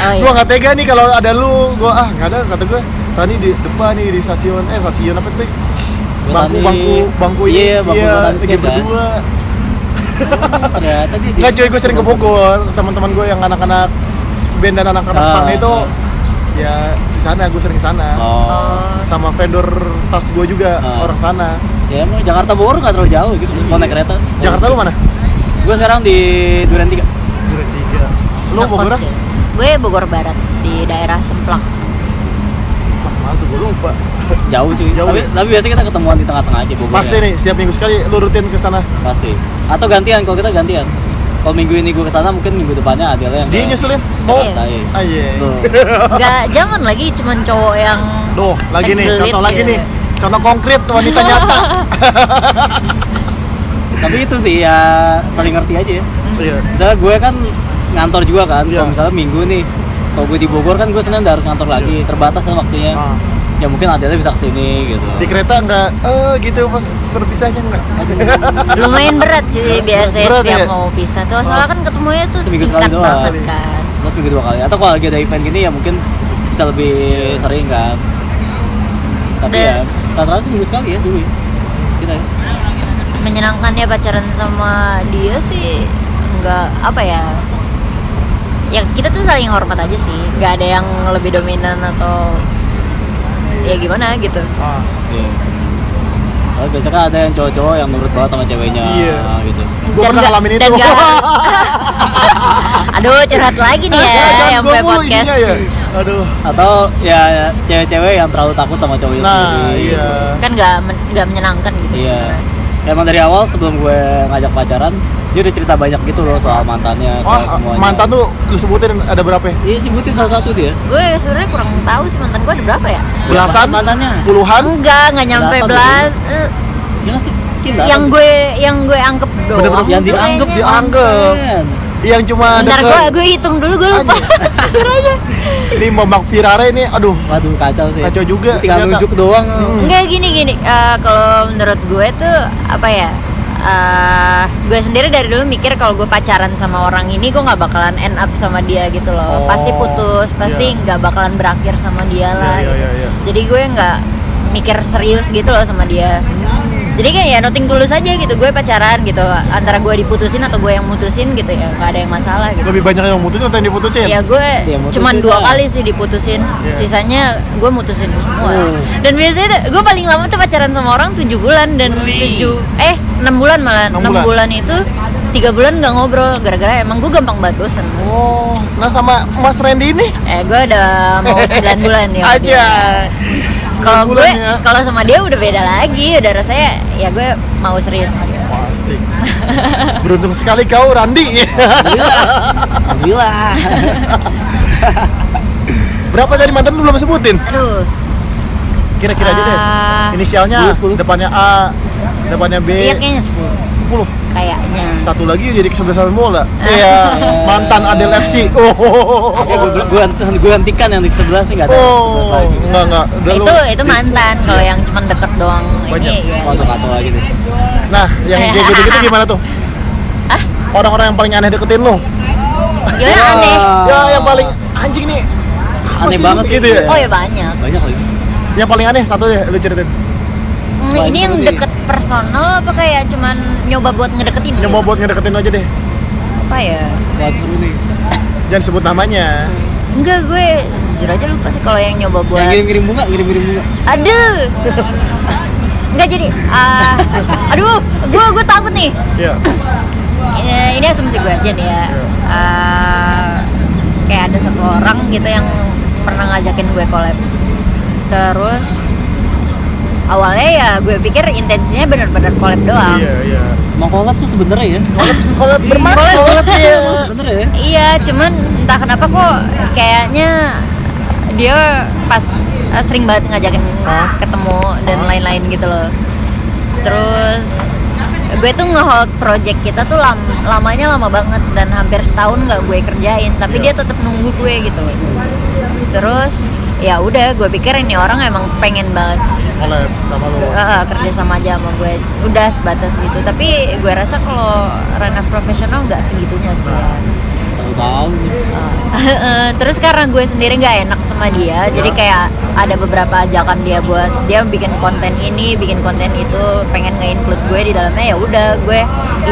Speaker 2: Ah,
Speaker 1: iya.
Speaker 3: gua nggak tega nih kalau ada lu gua ah nggak ada kata gua tadi di depan nih di stasiun eh stasiun apa tuh bangku
Speaker 2: Botani.
Speaker 3: bangku bangku ini
Speaker 2: Iya, bangku Botani
Speaker 3: lagi
Speaker 2: Skate, kan?
Speaker 3: berdua
Speaker 2: Ternyata dia.
Speaker 3: nggak cuy gua sering ke Bogor teman-teman gua yang anak-anak band dan anak-anak
Speaker 2: Ah,
Speaker 3: punk itu
Speaker 2: ah.
Speaker 3: ya di sana gua sering ke sana
Speaker 2: Oh.
Speaker 1: Oh.
Speaker 3: sama vendor tas gua juga
Speaker 2: Ah.
Speaker 3: orang sana
Speaker 2: Ya emang Jakarta Bogor nggak terlalu jauh gitu. Kalau naik kereta.
Speaker 3: Jakarta lu mana
Speaker 2: Gue sekarang di Duren 3
Speaker 3: Duren tiga lu
Speaker 1: ngekos
Speaker 3: Bogor ah?
Speaker 1: ya. Gue Bogor Barat di daerah Semplak.
Speaker 3: Wah, mahal tuh gua lupa
Speaker 2: Jauh sih.
Speaker 3: Jauh
Speaker 2: tapi,
Speaker 3: ya?
Speaker 2: tapi biasanya kita ketemuan di tengah-tengah aja Bogor.
Speaker 3: pasti
Speaker 2: ya.
Speaker 3: nih setiap minggu sekali lu rutin ke sana
Speaker 2: Pasti. Atau gantian kalau kita gantian. Kalau minggu ini gue kesana mungkin minggu depannya adalah yang.
Speaker 3: dia
Speaker 2: ke
Speaker 3: nyusulin
Speaker 1: Iya.
Speaker 3: mau
Speaker 2: Jakarta, iya.
Speaker 3: ah iya
Speaker 2: Tuh.
Speaker 1: Gak zaman lagi cuman cowok yang
Speaker 3: Duh, lagi nih,
Speaker 1: Kegelit
Speaker 3: contoh lagi
Speaker 1: gitu.
Speaker 3: nih. Contoh konkret wanita nyata.
Speaker 2: tapi itu sih ya paling ngerti aja ya.
Speaker 1: hmm,
Speaker 3: Iya.
Speaker 2: misalnya gue kan ngantor juga kan
Speaker 3: Iya.
Speaker 2: kalau misalnya minggu nih kalau gue di Bogor kan gue senin udah harus ngantor lagi terbatas kan waktunya
Speaker 3: Iya. Ah.
Speaker 2: ya mungkin adanya bisa kesini gitu
Speaker 3: di kereta nggak eh gitu pas perpisahnya nggak
Speaker 1: lumayan berat sih biasanya
Speaker 3: Berat
Speaker 1: setiap
Speaker 3: ya?
Speaker 1: mau pisah tuh soalnya kan ketemunya tuh
Speaker 2: Seminggu
Speaker 1: singkat
Speaker 2: sekali doang.
Speaker 1: banget kan
Speaker 2: terus minggu dua kali atau kalau lagi ada event gini ya mungkin bisa lebih
Speaker 3: Iya.
Speaker 2: sering kan tapi ya
Speaker 1: Dan-
Speaker 2: rata-rata seminggu sekali ya dulu ya. kita ya
Speaker 1: menyenangkannya pacaran sama dia sih nggak apa ya ya kita tuh saling hormat aja sih nggak ada yang lebih dominan atau ya gimana gitu
Speaker 3: Ah,
Speaker 2: Iya. Soalnya biasanya kan ada yang cowok-cowok yang nurut banget sama ceweknya
Speaker 3: Iya.
Speaker 2: gitu
Speaker 3: Gua pernah
Speaker 1: nggak-
Speaker 3: ngalamin
Speaker 1: dan ya,
Speaker 3: itu.
Speaker 1: nggak- aduh curhat lagi nih ya
Speaker 3: jangan
Speaker 1: yang
Speaker 3: gua
Speaker 1: punya
Speaker 3: mulu
Speaker 1: podcast
Speaker 3: isinya ya aduh
Speaker 2: atau ya cewek-cewek yang terlalu takut sama cowoknya
Speaker 3: nah
Speaker 2: sendiri
Speaker 3: iya
Speaker 2: gitu.
Speaker 1: kan nggak men- nggak menyenangkan gitu
Speaker 2: Iya.
Speaker 1: sebenarnya.
Speaker 2: Emang dari awal sebelum gue ngajak pacaran, dia udah cerita banyak gitu loh soal mantannya, soal
Speaker 3: wah
Speaker 2: semuanya.
Speaker 3: Oh, mantan tuh lu sebutin ada berapa ya?
Speaker 2: Iya, nyebutin salah satu dia.
Speaker 1: gue sebenarnya kurang tahu sih mantan gue ada berapa ya
Speaker 3: belasan
Speaker 2: mantannya.
Speaker 3: puluhan
Speaker 1: enggak nggak nyampe
Speaker 2: Belasan
Speaker 1: belas Eh,
Speaker 2: Ya nggak sih, mungkin belasan.
Speaker 1: yang gue yang gue anggap doang
Speaker 3: Bener-bener
Speaker 2: yang
Speaker 1: tuh
Speaker 2: dianggap
Speaker 1: kayaknya.
Speaker 3: dianggap. yang cuma
Speaker 1: Bentar gue
Speaker 3: deket
Speaker 1: gue hitung dulu gue lupa surahnya.
Speaker 3: ini Bambang Firare ini aduh
Speaker 2: Waduh kacau sih.
Speaker 3: Kacau Hmm. juga,
Speaker 2: Dia Tinggal
Speaker 3: ternyata.
Speaker 2: nunjuk doang.
Speaker 1: Enggak gini gini. Eh, kalau menurut gue tuh apa ya? eh, gue sendiri dari dulu mikir kalau gue pacaran sama orang ini gue nggak bakalan end up sama dia gitu loh.
Speaker 3: Oh,
Speaker 1: pasti putus, pasti
Speaker 3: iya.
Speaker 1: nggak bakalan berakhir sama dia lah.
Speaker 3: Iya, iya,
Speaker 1: gitu.
Speaker 3: iya, iya.
Speaker 1: Jadi gue nggak mikir serius gitu loh sama dia. Jadi kayak ya noting tulus aja gitu gue pacaran gitu antara gue diputusin atau gue yang mutusin gitu ya nggak ada yang masalah gitu.
Speaker 3: lebih banyak yang mutusin atau yang diputusin
Speaker 1: Ya gue
Speaker 2: Ya, mutusin
Speaker 1: cuman dua
Speaker 2: lah.
Speaker 1: kali sih diputusin,
Speaker 3: Iya.
Speaker 1: sisanya gue mutusin semua.
Speaker 2: Hmm.
Speaker 1: Dan biasanya tuh, gue paling lama tuh pacaran sama orang 7 bulan dan tujuh eh 6 bulan malah.
Speaker 3: Enam
Speaker 1: 6
Speaker 3: bulan.
Speaker 1: bulan. itu tiga bulan gak ngobrol gara-gara emang gue gampang banget bosen.
Speaker 3: oh nah sama Mas Randy ini
Speaker 1: Eh gue udah mau 9 bulan ya. waktu
Speaker 3: aja
Speaker 1: itu. Kalau gue
Speaker 3: Sembilan bulan ya.
Speaker 1: kalau sama dia udah beda lagi, udah rasanya ya gue mau serius sama dia.
Speaker 3: Asik. Beruntung sekali kau Randi.
Speaker 2: Alhamdulillah.
Speaker 3: Berapa dari mantan lu belum sebutin?
Speaker 1: Aduh,
Speaker 3: Kira-kira aja deh.
Speaker 1: Ah.
Speaker 3: Inisialnya
Speaker 2: Sepuluh, sepuluh.
Speaker 3: depannya A, depannya B.
Speaker 1: iya kayaknya 10
Speaker 3: 10.
Speaker 1: kayaknya.
Speaker 3: Satu lagi jadi kesebelasan bola.
Speaker 1: Ah.
Speaker 3: Iya, mantan Adel FC. Oh.
Speaker 2: Oke, gue gue gue hentikan yang di sebelas nih nggak ada.
Speaker 3: Oh,
Speaker 2: 11 lagi.
Speaker 3: enggak enggak. Udah lu-
Speaker 1: itu itu mantan kalau yang cuman deket doang
Speaker 3: Iya. Banyak.
Speaker 1: ini ya.
Speaker 2: Waduh Oh, kacau lagi nih.
Speaker 3: Nah, yang kayak gitu-gitu gimana tuh?
Speaker 1: Ah?
Speaker 3: Orang-orang yang paling aneh deketin lu.
Speaker 1: Gimana
Speaker 2: Wah.
Speaker 1: aneh?
Speaker 3: Ya, yang paling anjing nih. apa
Speaker 2: Ah. Aneh
Speaker 3: sih lu?
Speaker 2: banget sih
Speaker 3: gitu ya.
Speaker 2: dia.
Speaker 1: Oh ya banyak.
Speaker 2: Banyak lagi.
Speaker 3: Yang paling aneh satu deh lu ceritain.
Speaker 1: Hmm,
Speaker 2: Banyak
Speaker 1: ini yang
Speaker 2: banget.
Speaker 1: deket personal apa kayak cuman nyoba buat ngedeketin?
Speaker 3: Nyoba
Speaker 1: gitu?
Speaker 3: buat ngedeketin lu aja deh.
Speaker 1: apa ya?
Speaker 2: Wah seru nih.
Speaker 3: Jangan sebut namanya.
Speaker 1: Enggak gue jujur aja lupa sih kalau yang nyoba buat.
Speaker 2: Yang kirim kirim bunga, kirim kirim bunga.
Speaker 1: Aduh. Enggak jadi. ah, aduh, gue gue takut nih.
Speaker 2: Hmm.
Speaker 3: Iya.
Speaker 1: ini, ini asumsi gue aja nih ya Eh, kayak ada satu orang gitu yang pernah ngajakin gue collab terus awalnya ya gue pikir intensinya bener-bener collab doang
Speaker 3: Iya, iya.
Speaker 2: Mau collab tuh sebenernya ya.
Speaker 3: Kalau bermain
Speaker 2: Collab ya. Sebenernya ya.
Speaker 1: iya cuman entah kenapa kok kayaknya dia pas eh, sering banget ngajakin
Speaker 3: Hah?
Speaker 1: ketemu dan lain-lain gitu loh terus gue tuh ngehold project kita tuh lam- lamanya lama banget dan hampir setahun nggak gue kerjain tapi dia tetap nunggu gue gitu loh terus ya udah gue pikir ini orang emang pengen banget
Speaker 3: collab sama lo.
Speaker 1: eh, kerja sama aja sama gue udah sebatas gitu tapi gue rasa kalau ranah profesional nggak segitunya sih ya.
Speaker 2: Tahu tahu.
Speaker 1: Uh, terus karena gue sendiri nggak enak sama dia
Speaker 3: Iya.
Speaker 1: jadi kayak ada beberapa ajakan dia buat dia bikin konten ini bikin konten itu pengen nge-include gue di dalamnya ya udah gue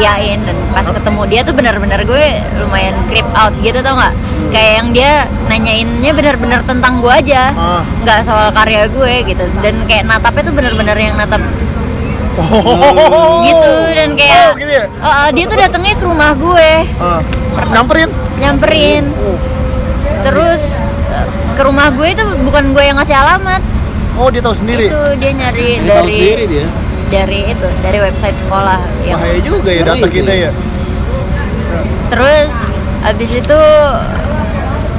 Speaker 1: iain dan pas ketemu dia tuh bener-bener gue lumayan creep out gitu tau nggak
Speaker 3: Hmm.
Speaker 1: kayak yang dia nanyainnya bener-bener tentang gue aja
Speaker 3: Ah.
Speaker 1: nggak soal karya gue gitu dan kayak natapnya tuh bener-bener yang natap
Speaker 3: Oh.
Speaker 1: gitu dan kayak
Speaker 3: Oh, gitu ya?
Speaker 1: Uh, dia tuh datangnya ke rumah gue
Speaker 3: Ah. Nyamperin.
Speaker 1: nyamperin
Speaker 2: Oh.
Speaker 1: terus eh, ke rumah gue itu bukan gue yang ngasih alamat
Speaker 3: Oh, dia tahu sendiri.
Speaker 1: itu dia nyari
Speaker 2: Dia tahu
Speaker 1: dari
Speaker 2: sendiri dia.
Speaker 1: dari itu dari website sekolah iya. yang
Speaker 3: Bahaya juga ya data
Speaker 2: Ngeri sih.
Speaker 3: kita ya.
Speaker 1: terus abis itu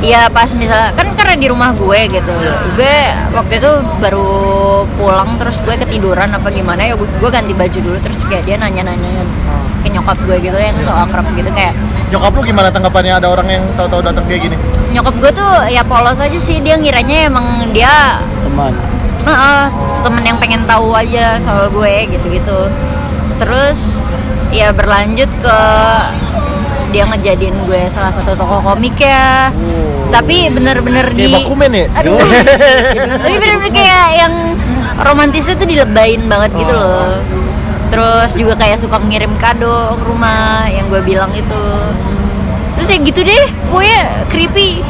Speaker 1: ya pas misalnya kan karena di rumah gue gitu
Speaker 2: Iya.
Speaker 1: gue waktu itu baru pulang terus gue ketiduran apa gimana ya gue gue ganti baju dulu terus kayak dia nanya-nanya
Speaker 2: Ah.
Speaker 1: ke nyokap gue gitu yang
Speaker 2: Iya.
Speaker 1: so akrab gitu kayak
Speaker 3: Nyokap lu gimana tanggapannya ada orang yang tahu-tahu datang kayak gini?
Speaker 1: nyokap gue tuh ya polos aja sih dia ngiranya emang dia
Speaker 2: Teman.
Speaker 1: Heeh, temen yang pengen tahu aja soal gue gitu-gitu terus ya berlanjut ke dia ngejadiin gue salah satu tokoh komik ya tapi bener-bener di
Speaker 3: Oh. Kayak dokumen ya?
Speaker 1: aduh tapi bener-bener kayak yang romantisnya tuh dilebain banget gitu loh terus juga kayak suka ngirim kado ke rumah yang gue bilang itu terus ya gitu deh pokoknya creepy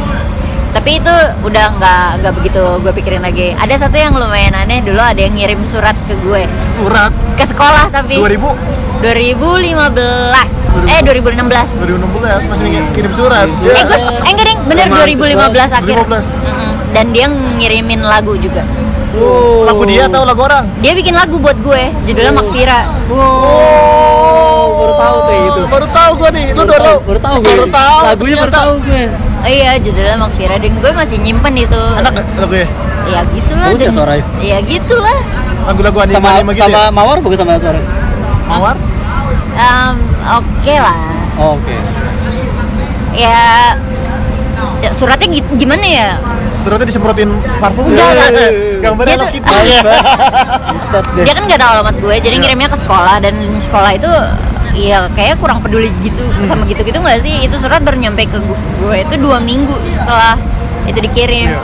Speaker 1: tapi itu udah nggak nggak begitu gue pikirin lagi ada satu yang lumayan aneh dulu ada yang ngirim surat ke gue
Speaker 3: Surat
Speaker 1: ke sekolah tapi
Speaker 3: 2000
Speaker 1: 2015 eh 2016
Speaker 3: 2016 masih ngirim- kirim surat.
Speaker 1: eh gue
Speaker 2: iya.
Speaker 1: eh enggak deh bener
Speaker 3: Romantis
Speaker 1: 2015
Speaker 3: banget.
Speaker 1: akhir
Speaker 3: 2015.
Speaker 1: Mm-mm. dan dia ngirimin lagu juga
Speaker 3: Wow. Lagu dia atau lagu orang?
Speaker 1: dia bikin lagu buat gue judulnya Makfira
Speaker 3: Oh,
Speaker 2: baru tahu tuh gitu. yang itu.
Speaker 3: Baru tahu gua nih. Lu baru tahu.
Speaker 2: Baru tahu gue.
Speaker 3: Baru tahu.
Speaker 2: Lagunya baru
Speaker 3: ternyata.
Speaker 2: tahu gue.
Speaker 1: oh iya judulnya Makfira dan gue masih nyimpen itu
Speaker 3: Enak nggak lagunya?
Speaker 1: ya gitulah
Speaker 2: Bagus ya suaranya.
Speaker 1: ya gitulah
Speaker 3: Lagu-lagu anime
Speaker 2: Sama
Speaker 3: anime gitu.
Speaker 2: sama
Speaker 3: ya?
Speaker 2: Mawar bagus sama suara.
Speaker 3: Mawar?
Speaker 1: Em, oke lah
Speaker 2: Oh, Oke.
Speaker 1: ya, ya suratnya gi- gimana ya
Speaker 3: Suratnya disemprotin parfum.
Speaker 1: Enggak, enggak.
Speaker 3: Gambarnya
Speaker 1: Dia
Speaker 3: Hello
Speaker 1: tuh-
Speaker 3: Kitty.
Speaker 2: Iya. Buset deh.
Speaker 1: dia kan nggak tahu alamat gue jadi
Speaker 3: Iya.
Speaker 1: ngirimnya ke sekolah dan sekolah itu ya kayak kurang peduli gitu sama gitu-gitu nggak sih itu surat baru nyampe ke gu- gue itu dua minggu setelah itu dikirim
Speaker 3: Iya.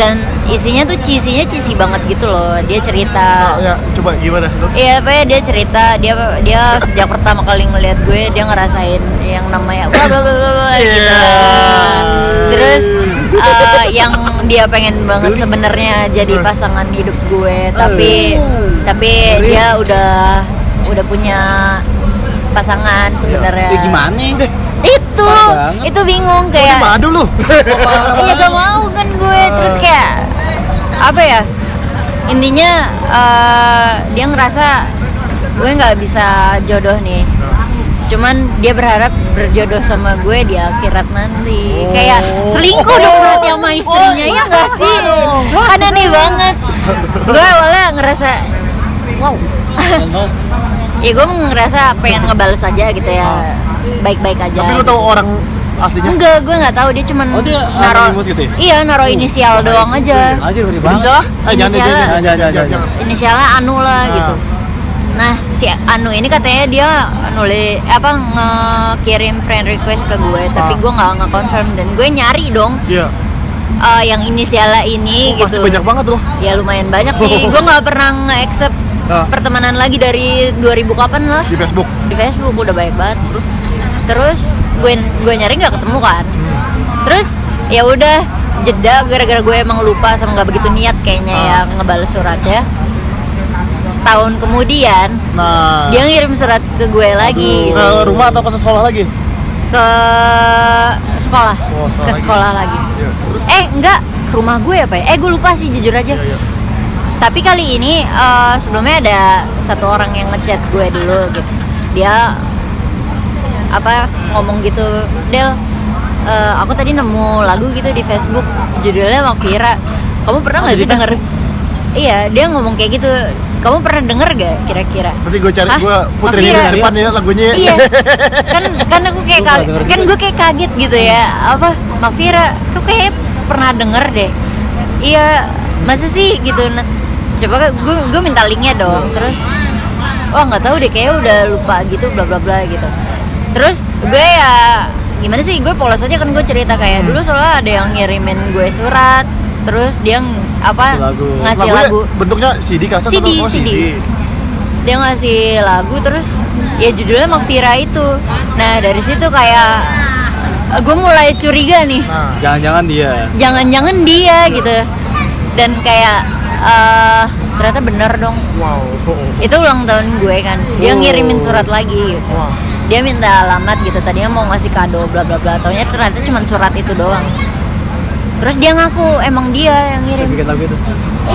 Speaker 1: dan isinya tuh cisinya cisi banget gitu loh dia cerita
Speaker 3: Ya, coba gimana? Lu-
Speaker 1: Iya, apa ya dia cerita dia dia sejak pertama kali ngeliat gue dia ngerasain yang namanya bla bla bla bla bla gitu.
Speaker 3: Iya.
Speaker 1: kan. Terus eh, yang dia pengen banget sebenarnya jadi pasangan hidup gue, tapi tapi dia udah udah punya pasangan sebenarnya.
Speaker 2: Ya gimana?
Speaker 3: Eh,
Speaker 1: Itu
Speaker 2: Parah banget. Oh,
Speaker 1: itu bingung kayak
Speaker 3: Gimana dulu?
Speaker 1: Iya gak mau kan gue terus kayak apa ya intinya eh, dia ngerasa gue nggak bisa jodoh nih cuman dia berharap berjodoh sama gue di akhirat nanti kayak
Speaker 3: Oh.
Speaker 1: selingkuh dong berarti sama istrinya ya nggak sih kan aneh banget gue awalnya ngerasa wow ya gue ngerasa pengen ngebales aja gitu ya baik-baik aja
Speaker 3: Tapi lu tahu orang aslinya?
Speaker 1: Enggak, gue nggak tahu dia cuman
Speaker 2: Oh, dia
Speaker 3: anonimus gitu ya? Iya,
Speaker 1: Iya, naro inisial doang aja.
Speaker 2: Anjir beri banget.
Speaker 3: Inisial? Eh, jangan,
Speaker 1: Inisial.
Speaker 3: jangan, jangan, jangan, jangan, jangan.
Speaker 1: Inisialnya Anu lah
Speaker 3: Ah.
Speaker 1: gitu. Nah, si Anu ini katanya dia nulis apa ngekirim friend request ke gue, tapi
Speaker 3: Ah.
Speaker 1: gue nggak nge-confirm dan gue nyari dong
Speaker 3: Iya.
Speaker 1: eh, yang inisialnya ini
Speaker 3: Oh, Pasti
Speaker 1: gitu.
Speaker 3: banyak banget loh.
Speaker 1: Ya lumayan banyak sih. gue nggak pernah nge-accept
Speaker 3: Ah.
Speaker 1: pertemanan lagi dari 2000 kapan lah
Speaker 3: di Facebook.
Speaker 1: di Facebook udah banyak banget terus terus gue gue nyari nggak ketemu kan terus ya udah jeda gara-gara gue emang lupa sama nggak begitu niat kayaknya
Speaker 3: Ah.
Speaker 1: ya ngebales suratnya setahun kemudian
Speaker 3: Nah,
Speaker 1: dia ngirim surat ke gue lagi gitu,
Speaker 3: ke rumah atau ke sekolah lagi?
Speaker 1: ke sekolah
Speaker 3: Oh, sekolah
Speaker 1: ke
Speaker 3: lagi.
Speaker 1: sekolah lagi
Speaker 3: Iya, terus
Speaker 1: eh enggak ke rumah gue apa ya eh gue lupa sih jujur aja
Speaker 3: Iya, iya.
Speaker 1: tapi kali ini eh, sebelumnya ada satu orang yang ngechat gue dulu gitu dia apa ngomong gitu Del eh, aku tadi nemu lagu gitu di Facebook judulnya Makfira kamu
Speaker 3: Oh,
Speaker 1: pernah nggak sih denger iya dia ngomong kayak gitu kamu pernah denger gak kira-kira
Speaker 3: Nanti gue cari
Speaker 1: Hah?
Speaker 3: gue putri di
Speaker 1: Makfira?
Speaker 3: depan ya lagunya.
Speaker 1: iya kan kan aku kayak
Speaker 2: Gua pernah
Speaker 1: kaget-
Speaker 2: denger
Speaker 1: kan
Speaker 2: juga.
Speaker 1: gue kayak kaget gitu ya apa Mafira aku kayak pernah denger deh iya masa sih gitu Nah, coba gue gue minta linknya dong terus oh nggak tahu deh kayak udah lupa gitu bla bla bla gitu terus gue ya gimana sih gue polos aja kan gue cerita kayak dulu soalnya ada yang ngirimin gue surat terus dia ng- apa
Speaker 2: Ngasih lagu.
Speaker 1: ngasih
Speaker 3: Lagunya
Speaker 1: lagu
Speaker 3: bentuknya CD kaset
Speaker 1: CD,
Speaker 3: atau oh,
Speaker 1: CD. dia ngasih lagu terus ya judulnya Makfira itu nah dari situ kayak gue mulai curiga nih
Speaker 3: Nah,
Speaker 2: Jangan-jangan dia.
Speaker 1: jangan-jangan dia gitu dan kayak eh ternyata bener dong
Speaker 3: wow.
Speaker 1: itu ulang tahun gue kan dia ngirimin surat lagi gitu.
Speaker 3: Wah.
Speaker 1: dia minta alamat gitu tadinya mau ngasih kado bla bla bla taunya ternyata cuma surat itu doang terus dia ngaku emang dia yang
Speaker 2: Dia
Speaker 1: ngirim
Speaker 2: bikin lagu itu.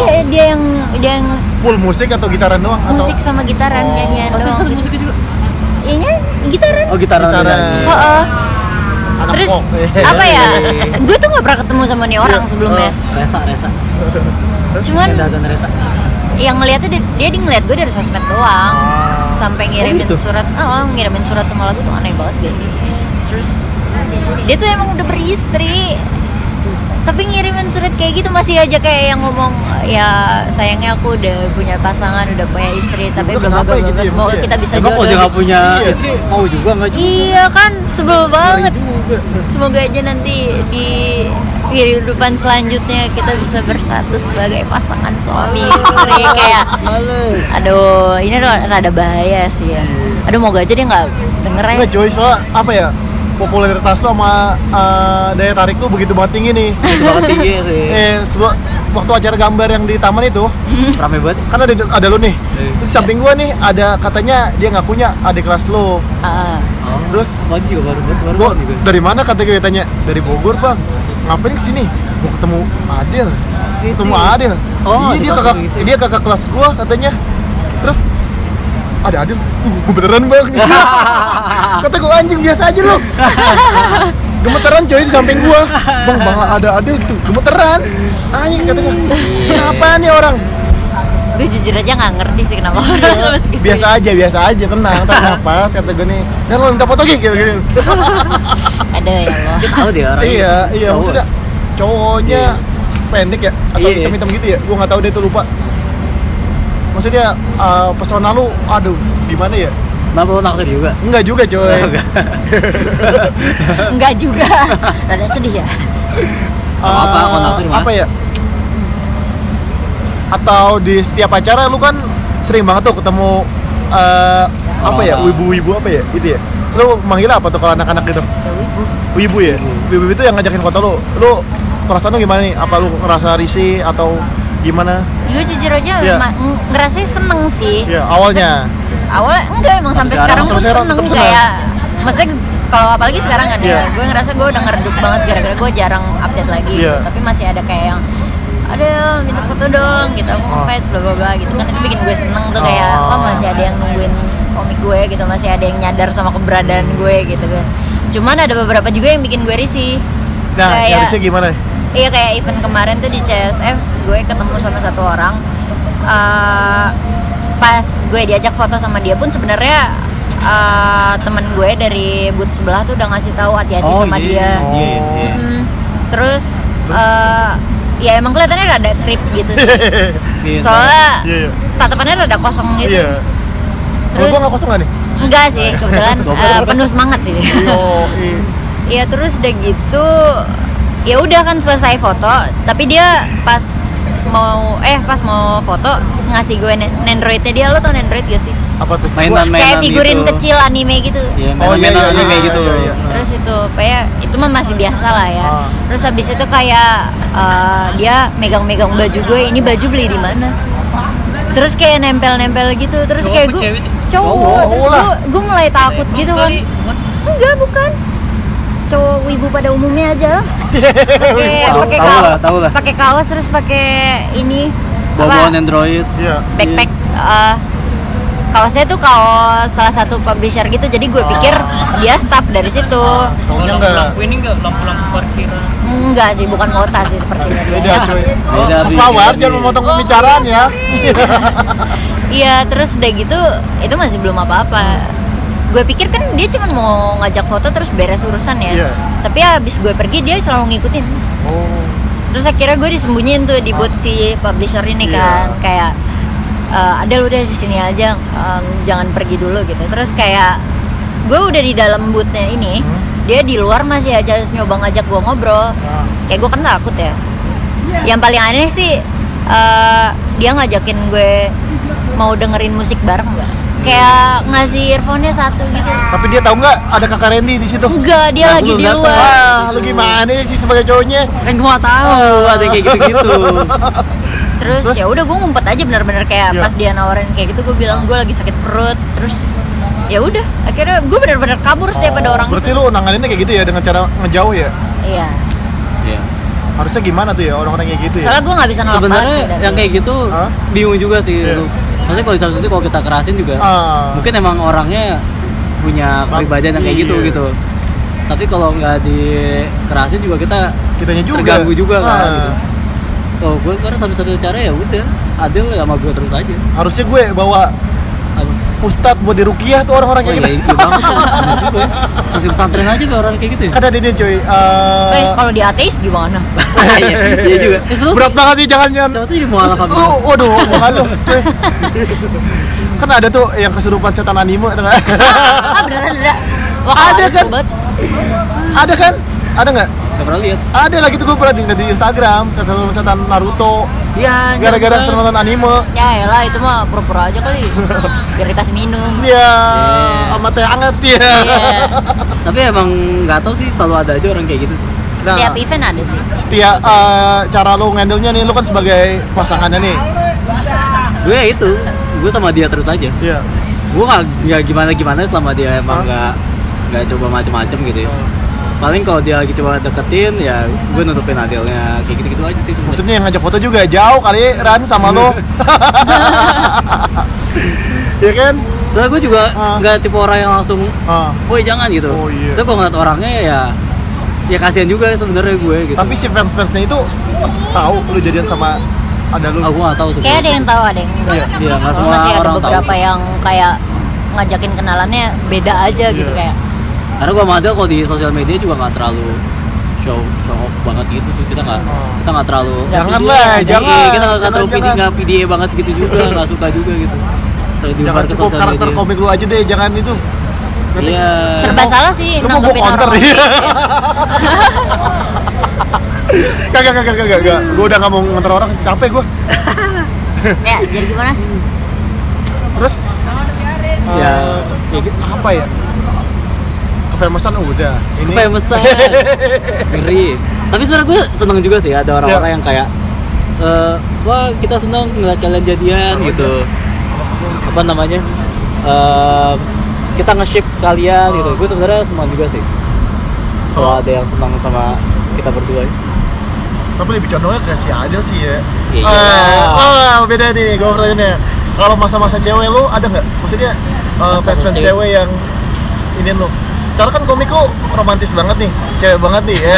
Speaker 1: iya dia yang dia yang
Speaker 3: Full musik atau gitaran doang
Speaker 1: musik
Speaker 3: atau
Speaker 1: sama gitaran nyanyian
Speaker 2: Oh,
Speaker 1: doang
Speaker 2: serius,
Speaker 1: gitu.
Speaker 2: musiknya juga.
Speaker 1: Iya, nyanyi- gitaran
Speaker 2: Oh, gitaran.
Speaker 3: Gitaran.
Speaker 2: bedanya.
Speaker 1: Oh, oh.
Speaker 3: anak
Speaker 1: Terus
Speaker 3: pop?
Speaker 1: apa ya? Gue tuh nggak pernah ketemu sama nih orang sebelumnya.
Speaker 2: Oh, Resa, Resa.
Speaker 1: Cuman
Speaker 2: Kedah dan Resa.
Speaker 1: yang ngeliatnya dia, dia di ngeliat gue dari sosmed doang.
Speaker 3: Ah.
Speaker 1: Sampai ngirimin
Speaker 2: gitu?
Speaker 1: surat, oh, ngirimin surat sama lagu tuh aneh banget gak sih? Terus dia tuh emang udah beristri. tapi ngirimin surat kayak gitu masih aja kayak yang ngomong ya sayangnya aku udah punya pasangan udah punya istri tapi
Speaker 3: Lu
Speaker 1: belum
Speaker 3: kenapa
Speaker 1: belum
Speaker 3: ya gitu
Speaker 1: belum-
Speaker 3: ya,
Speaker 1: semoga
Speaker 3: maksudnya?
Speaker 1: kita bisa
Speaker 2: Emang kalau dia
Speaker 1: jodoh
Speaker 2: nggak punya
Speaker 3: Iya.
Speaker 2: istri mau juga nggak juga?
Speaker 1: iya kan sebel banget
Speaker 3: juga.
Speaker 1: semoga aja nanti di kehidupan selanjutnya kita bisa bersatu sebagai pasangan suami istri kayak
Speaker 2: Males.
Speaker 1: aduh ini rada rada bahaya sih ya aduh moga aja dia nggak denger ya
Speaker 3: Enggak Joy, soalnya apa ya popularitas lo sama eh, daya tarik lo begitu banget tinggi nih.
Speaker 2: Itu banget tinggi ya sih.
Speaker 3: eh sebuah waktu acara gambar yang di taman itu
Speaker 2: Rame banget.
Speaker 3: kan ada ada lo nih.
Speaker 2: Iya.
Speaker 3: Terus di samping gua nih ada katanya dia ngakunya adik kelas lo.
Speaker 1: Ah,
Speaker 2: Oh.
Speaker 3: Terus?
Speaker 2: Apaan juga baru baru baru
Speaker 3: Gua Iya.
Speaker 2: tahu nih gue.
Speaker 3: dari mana kata gue tanya dari Bogor bang ngapain kesini mau ketemu Adil ketemu Adil
Speaker 2: Oh,
Speaker 3: iya
Speaker 2: di
Speaker 3: dia
Speaker 2: kelas
Speaker 3: kakak
Speaker 2: lu gitu ya?
Speaker 3: dia kakak kelas gua katanya terus ada Adil uh, gua beneran bang kata gua anjing biasa aja lo gemeteran coy di samping gua bang bang ada Adil gitu gemeteran anjing kata gua
Speaker 2: Iya.
Speaker 3: kenapa nih orang
Speaker 1: gue jujur aja nggak ngerti sih kenapa orang sama segitu
Speaker 3: Iya. biasa aja biasa aja tenang tarik nafas kata gua nih dan lo minta foto gitu gitu
Speaker 1: ada ya Allah
Speaker 2: Dia tahu dia orang.
Speaker 3: iya iya
Speaker 2: Tahu.
Speaker 3: maksudnya cowoknya
Speaker 2: ya? Iya.
Speaker 3: pendek ya atau
Speaker 2: Iya.
Speaker 3: hitam hitam gitu ya gua nggak tahu deh tuh lupa maksudnya uh, pesona lu aduh gimana ya
Speaker 2: Kenapa lu naksir juga?
Speaker 3: enggak juga coy
Speaker 1: nggak juga rada sedih ya
Speaker 3: Uh,
Speaker 2: Apa-apa, kalau naksir mah.
Speaker 3: apa ya atau di setiap acara lu kan sering banget tuh ketemu uh, apa ya
Speaker 2: Orang-orang.
Speaker 3: wibu-wibu apa ya gitu ya lu manggil apa tuh kalau anak-anak gitu
Speaker 1: ya wibu
Speaker 3: wibu ya
Speaker 1: Hmm.
Speaker 3: wibu itu yang ngajakin foto lu lu perasaan lu gimana nih apa lu ngerasa risih atau gimana
Speaker 1: gue jujur aja
Speaker 3: Iya.
Speaker 1: ma- ng- ngerasanya seneng sih
Speaker 3: ya awalnya
Speaker 1: awalnya enggak emang sampai sekarang,
Speaker 3: Sampai sekarang,
Speaker 1: pun seneng
Speaker 3: tetap seneng.
Speaker 1: kayak maksudnya kalau apalagi sekarang ada
Speaker 3: Iya.
Speaker 1: gue ngerasa gue udah ngerduk banget gara-gara gue jarang update lagi
Speaker 3: Iya.
Speaker 1: gitu. tapi masih ada kayak yang ada minta foto dong gitu
Speaker 3: Ah.
Speaker 1: aku ngefans bla bla bla gitu kan itu bikin gue seneng tuh kayak oh
Speaker 3: Oh.
Speaker 1: masih ada yang nungguin komik gue gitu masih ada yang nyadar sama keberadaan gue gitu kan cuman ada beberapa juga yang bikin gue risih
Speaker 3: Nah,
Speaker 1: Kayak-
Speaker 3: harusnya gimana?
Speaker 1: Iya kayak event kemarin tuh di CSF gue ketemu sama satu orang Eh, pas gue diajak foto sama dia pun sebenarnya eh, temen gue dari booth sebelah tuh udah ngasih tahu hati-hati
Speaker 2: Oh,
Speaker 1: sama
Speaker 2: iya.
Speaker 1: dia.
Speaker 2: Iya, iya.
Speaker 1: Mm, terus eh, ya emang kelihatannya rada creep gitu sih.
Speaker 2: Iya,
Speaker 1: Soalnya
Speaker 3: Iya, iya.
Speaker 1: tatapannya rada kosong gitu.
Speaker 3: Iya. Kalau
Speaker 1: Terus-
Speaker 3: gua nggak kosong nggak nih?
Speaker 1: Enggak sih, kebetulan
Speaker 2: Goblok.
Speaker 1: eh, penuh semangat sih.
Speaker 3: Oh, iya.
Speaker 1: Iya terus udah gitu ya udah kan selesai foto tapi dia pas mau eh pas mau foto ngasih gue nen- nendroidnya dia lo tau nendroid gak sih
Speaker 3: Apa tuh?
Speaker 2: Mainan
Speaker 3: Gua-
Speaker 2: mainan
Speaker 1: kayak figurin
Speaker 2: gitu.
Speaker 1: kecil anime gitu
Speaker 2: Iya,
Speaker 3: Oh,
Speaker 2: mainan
Speaker 3: iya,
Speaker 2: mainan
Speaker 3: iya,
Speaker 2: anime
Speaker 3: iya,
Speaker 2: kayak gitu.
Speaker 3: iya, iya.
Speaker 1: terus itu kayak itu mah masih biasa lah ya
Speaker 3: Ah.
Speaker 1: terus habis itu kayak eh, dia megang-megang baju gue ini baju beli di mana terus kayak nempel-nempel gitu terus
Speaker 4: Cowok
Speaker 1: kayak
Speaker 4: apa
Speaker 1: gue
Speaker 4: cewek sih?
Speaker 1: cowok
Speaker 3: Cowok,
Speaker 1: terus
Speaker 3: lah.
Speaker 1: gue gue mulai takut gitu kan Enggak, bukan. Cowok wibu pada umumnya aja. Pakai
Speaker 2: Tahu-
Speaker 1: pakai
Speaker 2: tahu lah,
Speaker 1: kaos,
Speaker 2: tahu lah.
Speaker 1: pakai kaos terus pakai ini
Speaker 2: Bawa-bawaan
Speaker 1: apa?
Speaker 2: Android.
Speaker 3: Iya.
Speaker 1: Backpack. eh, kaosnya tuh kaos salah satu publisher gitu. Jadi gue pikir dia staff dari situ.
Speaker 3: Cowoknya
Speaker 4: Kalau
Speaker 3: nggak.
Speaker 4: lampu ini enggak lampu-lampu parkiran.
Speaker 1: Enggak sih, bukan kota sih sepertinya
Speaker 3: Beda
Speaker 1: dia.
Speaker 3: coy.
Speaker 2: Beda,
Speaker 3: Mas
Speaker 2: Bi.
Speaker 3: Mawar,
Speaker 2: Beda,
Speaker 3: jangan
Speaker 2: Bi.
Speaker 3: memotong pembicaraan
Speaker 1: Oh,
Speaker 3: ya.
Speaker 1: Iya, terus udah gitu itu masih belum apa-apa. Gue pikir kan dia cuma mau ngajak foto terus beres urusan ya.
Speaker 3: Iya.
Speaker 1: Tapi habis gue pergi dia selalu ngikutin.
Speaker 3: Oh.
Speaker 1: terus akhirnya gue disembunyiin tuh di booth si publisher ini kan
Speaker 3: Iya.
Speaker 1: kayak ada lu udah di sini aja em, jangan pergi dulu gitu terus kayak gue udah di dalam boothnya ini
Speaker 3: Hmm.
Speaker 1: dia di luar masih aja nyoba ngajak gue ngobrol
Speaker 3: Nah.
Speaker 1: kayak gue kan takut ya
Speaker 3: Iya.
Speaker 1: yang paling aneh sih eh, dia ngajakin gue mau dengerin musik bareng nggak kayak ngasih earphone-nya satu gitu
Speaker 3: Tapi dia tahu nggak ada kakak Randy di situ?
Speaker 1: enggak dia
Speaker 2: Nah,
Speaker 1: lagi
Speaker 2: lu
Speaker 1: di
Speaker 2: datang.
Speaker 1: luar
Speaker 3: Wah, lu gimana sih sebagai cowoknya?
Speaker 2: Kan gua nggak tahu ada yang kayak gitu-gitu.
Speaker 1: terus,
Speaker 3: Terus?
Speaker 1: ya udah gue ngumpet aja bener-bener kayak
Speaker 3: Iya.
Speaker 1: pas dia nawarin kayak gitu gue bilang gue lagi sakit perut terus ya udah akhirnya gue bener-bener kabur setiap ada
Speaker 3: Oh,
Speaker 1: orang
Speaker 3: Berarti
Speaker 1: itu.
Speaker 3: lu nanganinnya kayak gitu ya dengan cara ngejauh ya?
Speaker 1: iya
Speaker 2: Iya.
Speaker 3: Harusnya gimana tuh ya orang-orang kayak gitu ya?
Speaker 1: soalnya gue nggak
Speaker 2: Kan
Speaker 1: bisa nolak banget
Speaker 2: Sebenarnya
Speaker 1: sih dari-
Speaker 2: yang kayak gitu
Speaker 3: Hah?
Speaker 2: bingung juga sih
Speaker 3: Iya.
Speaker 2: lu. Maksudnya kalau di satu sisi kalau kita kerasin juga
Speaker 3: Ah.
Speaker 2: mungkin emang orangnya punya
Speaker 3: Bang-
Speaker 2: kepribadian yang kayak gitu
Speaker 3: iya.
Speaker 2: gitu. Tapi kalau nggak dikerasin juga kita
Speaker 3: kitanya juga
Speaker 2: terganggu juga kan,
Speaker 3: Ah.
Speaker 2: gitu. kalau gue karena satu-satu cara ya udah adil ya sama gue terus aja.
Speaker 3: Harusnya gue bawa
Speaker 2: Apa?
Speaker 3: ustad buat dirukiah tuh orang-orang kayak
Speaker 2: Wah,
Speaker 3: gitu
Speaker 2: iya, iya banget tuh. Bener juga ya. Masih pesantren aja tuh orang kayak gitu ya.
Speaker 3: kan ada dia cuy eh,
Speaker 1: Eh, kalau di ateis gimana?
Speaker 2: Iya iya juga. Eh, sebetulnya-
Speaker 3: berat banget nih jangan jangan
Speaker 2: Siapa tuh jadi
Speaker 3: Terus,
Speaker 2: mualaf
Speaker 3: lu, waduh, omongan lu cuy. kan ada tuh yang kesurupan setan animo itu kan.
Speaker 1: ah beneran ada. Wah,
Speaker 3: Ada
Speaker 1: ada
Speaker 3: kan?
Speaker 1: sobat.
Speaker 3: ada kan ada nggak
Speaker 2: Gak pernah lihat.
Speaker 3: ada lagi tuh gue pernah di, di Instagram kesurupan setan Naruto
Speaker 2: Iya.
Speaker 3: gara-gara sering nonton anime
Speaker 1: Ya elah itu mah pura-pura aja kali. Biar dikasih minum.
Speaker 3: dia Iya, sama teh anget ya
Speaker 1: Iya.
Speaker 2: Tapi emang nggak tahu sih selalu ada aja orang kayak gitu sih.
Speaker 3: Nah.
Speaker 1: Setiap event ada sih.
Speaker 3: setiap eh, cara lo ngendel nya nih lo kan sebagai pasangannya nih
Speaker 2: Gue ya itu, gue sama dia terus aja.
Speaker 3: iya
Speaker 2: Gue nggak nggak gimana-gimana selama
Speaker 3: Hah?
Speaker 2: dia emang nggak nggak coba macem-macem gitu ya. Paling kalau dia lagi coba deketin ya gue nutupin adilnya kayak gitu-gitu aja sih sebenarnya.
Speaker 3: maksudnya yang ngajak foto juga jauh kali Ran sama lo Iya kan
Speaker 2: Soalnya gue juga
Speaker 3: Ah.
Speaker 2: nggak tipe orang yang langsung
Speaker 3: Ah.
Speaker 2: woi jangan gitu.
Speaker 3: Oh, iya.
Speaker 2: Terus kalau ngeliat orangnya ya ya kasihan juga sebenarnya gue gitu.
Speaker 3: tapi si fans fansnya itu t- tahu lu jadian sama ada lu
Speaker 2: Ah, gue nggak tahu tuh.
Speaker 1: Kayak ada yang tahu, ada yang enggak.
Speaker 2: Iya, iya, nggak
Speaker 1: Soalnya
Speaker 2: semua
Speaker 1: masih ada
Speaker 2: orang
Speaker 1: beberapa
Speaker 2: tahu.
Speaker 1: yang kayak ngajakin kenalannya beda aja
Speaker 2: Iya.
Speaker 1: gitu kayak.
Speaker 2: Karena gue sama Adel kalau di sosial media juga nggak terlalu show show off banget gitu sih kita nggak
Speaker 3: Oh.
Speaker 2: kita nggak terlalu
Speaker 1: Nggak
Speaker 3: jangan
Speaker 1: PDA,
Speaker 3: lah
Speaker 1: ada.
Speaker 3: Eh, jangan
Speaker 2: Iya, kita nggak nggak terlalu
Speaker 3: jangan,
Speaker 2: PD nggak PDA banget gitu juga nggak suka juga gitu terlalu
Speaker 3: jangan,
Speaker 2: diumbar
Speaker 3: jangan
Speaker 2: ke
Speaker 3: cukup
Speaker 2: sosial
Speaker 3: karakter
Speaker 2: media
Speaker 3: komik lu aja deh jangan itu
Speaker 2: iya
Speaker 1: Serba salah sih
Speaker 3: lu mau gue
Speaker 1: nanggepin
Speaker 3: counter
Speaker 1: orang.
Speaker 3: iya kagak kagak kagak kagak gue udah nggak mau nganter orang capek gue
Speaker 1: Ya, jadi gimana?
Speaker 3: terus eh,
Speaker 2: Ya.
Speaker 3: ya gitu, apa ya kefamousan oh, udah ini
Speaker 2: apa yang besar ngeri tapi sebenarnya gue seneng juga sih ada
Speaker 3: Iya.
Speaker 2: orang-orang yang kayak eh, wah kita seneng ngeliat kalian jadian gitu
Speaker 3: ya.
Speaker 2: apa namanya Eh, kita nge-ship kalian gitu gue sebenarnya seneng juga sih kalau
Speaker 3: Oh.
Speaker 2: ada yang seneng sama kita berdua
Speaker 3: tapi lebih condongnya ke si Adel sih ya
Speaker 2: Iya.
Speaker 3: Ah, ah, beda nih gue pertanyaannya kalau masa-masa cewek lu ada nggak maksudnya eh,
Speaker 2: Apa
Speaker 3: fans-fans
Speaker 2: cewek?
Speaker 3: cewek yang ini lu sekarang kan komik lu romantis banget nih cewek banget nih ya.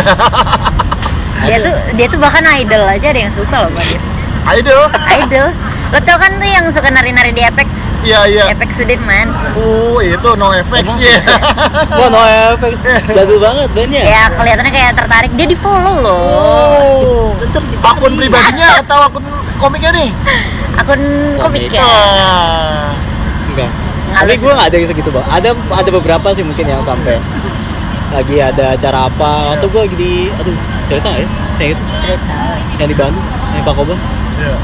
Speaker 1: Dia tuh dia tuh bahkan idol aja ada yang suka loh buat dia.
Speaker 3: Idol
Speaker 1: Idol. Lo tau kan tuh yang suka nari-nari di Apex?
Speaker 3: iya iya
Speaker 1: Apex Sudirman.
Speaker 3: uh itu no effects ya
Speaker 2: Wah, no effects. Jadul banget bandnya.
Speaker 1: Ya, kelihatannya kayak tertarik. Dia di-follow loh.
Speaker 3: oh
Speaker 2: Ntar di-
Speaker 3: akun pribadinya atau akun komiknya nih
Speaker 1: Akun komik ya.
Speaker 3: Ah.
Speaker 2: Enggak. Tapi gue nggak ada yang segitu bang. Ada ada beberapa sih mungkin yang sampai lagi ada acara apa atau gue lagi di aduh cerita nggak ya Yang itu
Speaker 1: Cerita.
Speaker 2: yang di Bandung yang Pak Koban
Speaker 3: Iya.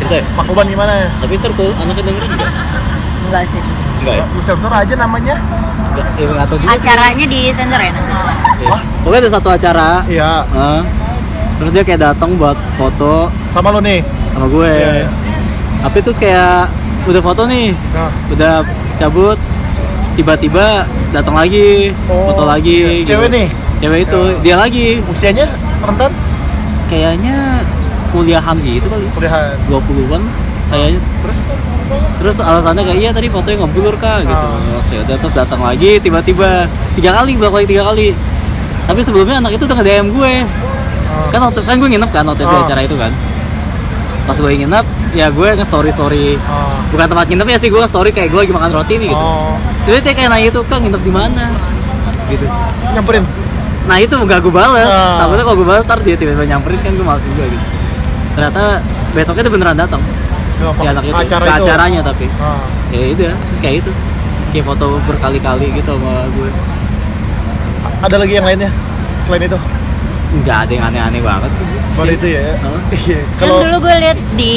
Speaker 2: cerita ya
Speaker 3: Pak Uban gimana ya?
Speaker 2: tapi ntar kalau anaknya dengerin nggak
Speaker 1: Enggak sih.
Speaker 2: enggak ya
Speaker 3: Lu sensor aja namanya
Speaker 2: enggak ya, nggak tahu juga sih.
Speaker 1: Acaranya di sensor ya nanti.
Speaker 2: Iya. pokoknya ada satu acara
Speaker 3: Iya
Speaker 2: eh, terus dia kayak datang buat foto
Speaker 3: sama lo nih
Speaker 2: sama gue
Speaker 3: Iya, iya.
Speaker 2: tapi terus kayak udah foto nih
Speaker 3: Nah.
Speaker 2: udah cabut tiba-tiba datang lagi
Speaker 3: Oh,
Speaker 2: foto lagi gitu.
Speaker 3: iya. Cewek nih?
Speaker 2: cewek itu
Speaker 3: Ya.
Speaker 2: dia lagi
Speaker 3: usianya rentan
Speaker 2: kayaknya kuliahan gitu kali
Speaker 3: kuliahan
Speaker 2: 20-an kayaknya
Speaker 3: terus
Speaker 2: terus alasannya kayak iya tadi fotonya ngeblur kak gitu
Speaker 3: Ah.
Speaker 2: terus, ya udah, terus datang lagi tiba-tiba tiga kali bolak balik tiga kali tapi sebelumnya anak itu udah nge-DM gue
Speaker 3: eh,
Speaker 2: kan waktu kan gue nginep kan waktu di
Speaker 3: Ah.
Speaker 2: acara itu kan pas gue nginep ya gue nge-story story
Speaker 3: eh,
Speaker 2: bukan tempat nginep ya sih gue story kayak gue lagi makan roti nih gitu
Speaker 3: oh
Speaker 2: sebenarnya dia kayak nanya tuh kak nginep di mana gitu
Speaker 3: nyamperin
Speaker 2: nah itu nggak gue bales
Speaker 3: Ah.
Speaker 2: takutnya kalau gue bales ntar dia tiba-tiba nyamperin kan gue males juga gitu ternyata besoknya dia beneran datang
Speaker 3: ke,
Speaker 2: si anak itu
Speaker 3: acara
Speaker 2: ke
Speaker 3: itu
Speaker 2: acaranya tapi
Speaker 3: Ah.
Speaker 2: ya itu ya kayak itu kayak foto berkali-kali gitu sama gue
Speaker 3: ada lagi yang lainnya selain itu
Speaker 2: nggak ada yang aneh-aneh banget sih gue.
Speaker 3: baru itu ya
Speaker 2: Hah?
Speaker 3: Iya.
Speaker 1: Kan
Speaker 3: kalau
Speaker 1: dulu gue lihat di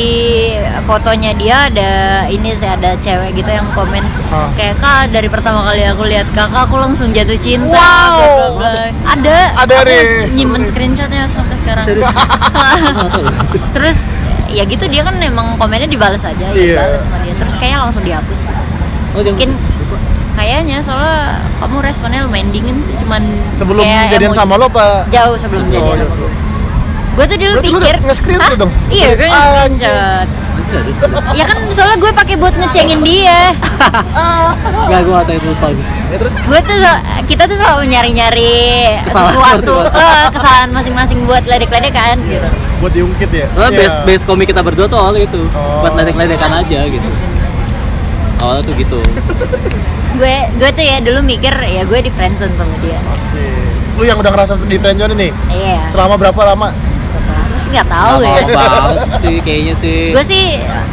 Speaker 1: fotonya dia ada ini sih ada cewek gitu yang komen
Speaker 3: Ah.
Speaker 1: kayak kak dari pertama kali aku lihat kakak aku langsung jatuh cinta.
Speaker 3: Wow.
Speaker 1: bla, bla, bla." Ada.
Speaker 3: Ada,
Speaker 1: Aku
Speaker 3: Riz.
Speaker 1: Nyimpen screenshotnya sampai sekarang.
Speaker 2: serius Nggak tahu.
Speaker 1: Terus ya gitu dia kan memang komennya dibales aja ya
Speaker 3: Iya.
Speaker 1: dibales sama dia. Terus kayaknya langsung dihapus.
Speaker 2: oh, dia
Speaker 1: Mungkin-
Speaker 2: lupa.
Speaker 1: Kayaknya soalnya kamu responnya lumayan dingin sih cuman
Speaker 3: sebelum
Speaker 1: kayak
Speaker 3: jadian
Speaker 1: emoji.
Speaker 3: sama lo apa
Speaker 1: jauh sebelum
Speaker 3: Oh,
Speaker 1: jadian.
Speaker 3: iya.
Speaker 1: sama gue. Gue tuh dulu
Speaker 3: Berarti lu
Speaker 1: pikir
Speaker 3: udah nge-screenshot
Speaker 1: "Hah?
Speaker 3: dong?"
Speaker 1: Iya, gue
Speaker 3: Ah,
Speaker 1: nge-screenshot
Speaker 2: masih ada sih
Speaker 1: ya kan soalnya gue pakai buat ngecengin dia
Speaker 3: Ah.
Speaker 2: nggak gue nggak tahu itu lupa gue
Speaker 3: ya terus
Speaker 1: gue tuh sel- kita tuh selalu nyari nyari
Speaker 2: Kesalahan.
Speaker 1: sesuatu eh, kesalahan masing-masing buat ledek ledekan gitu
Speaker 3: buat diungkit ya
Speaker 2: soalnya
Speaker 3: Iya.
Speaker 2: base base komik kita berdua tuh awal itu
Speaker 3: Oh.
Speaker 2: buat ledek-ledekan aja gitu awalnya tuh gitu
Speaker 1: gue gue tuh ya dulu mikir ya gue di friendzone sama dia
Speaker 3: Lu yang udah ngerasa di friend zone nih
Speaker 1: iya
Speaker 3: selama berapa lama?
Speaker 1: berapa lama sih nggak tahu
Speaker 2: Nggak
Speaker 1: ya
Speaker 2: mau banget sih kayaknya sih
Speaker 1: gue sih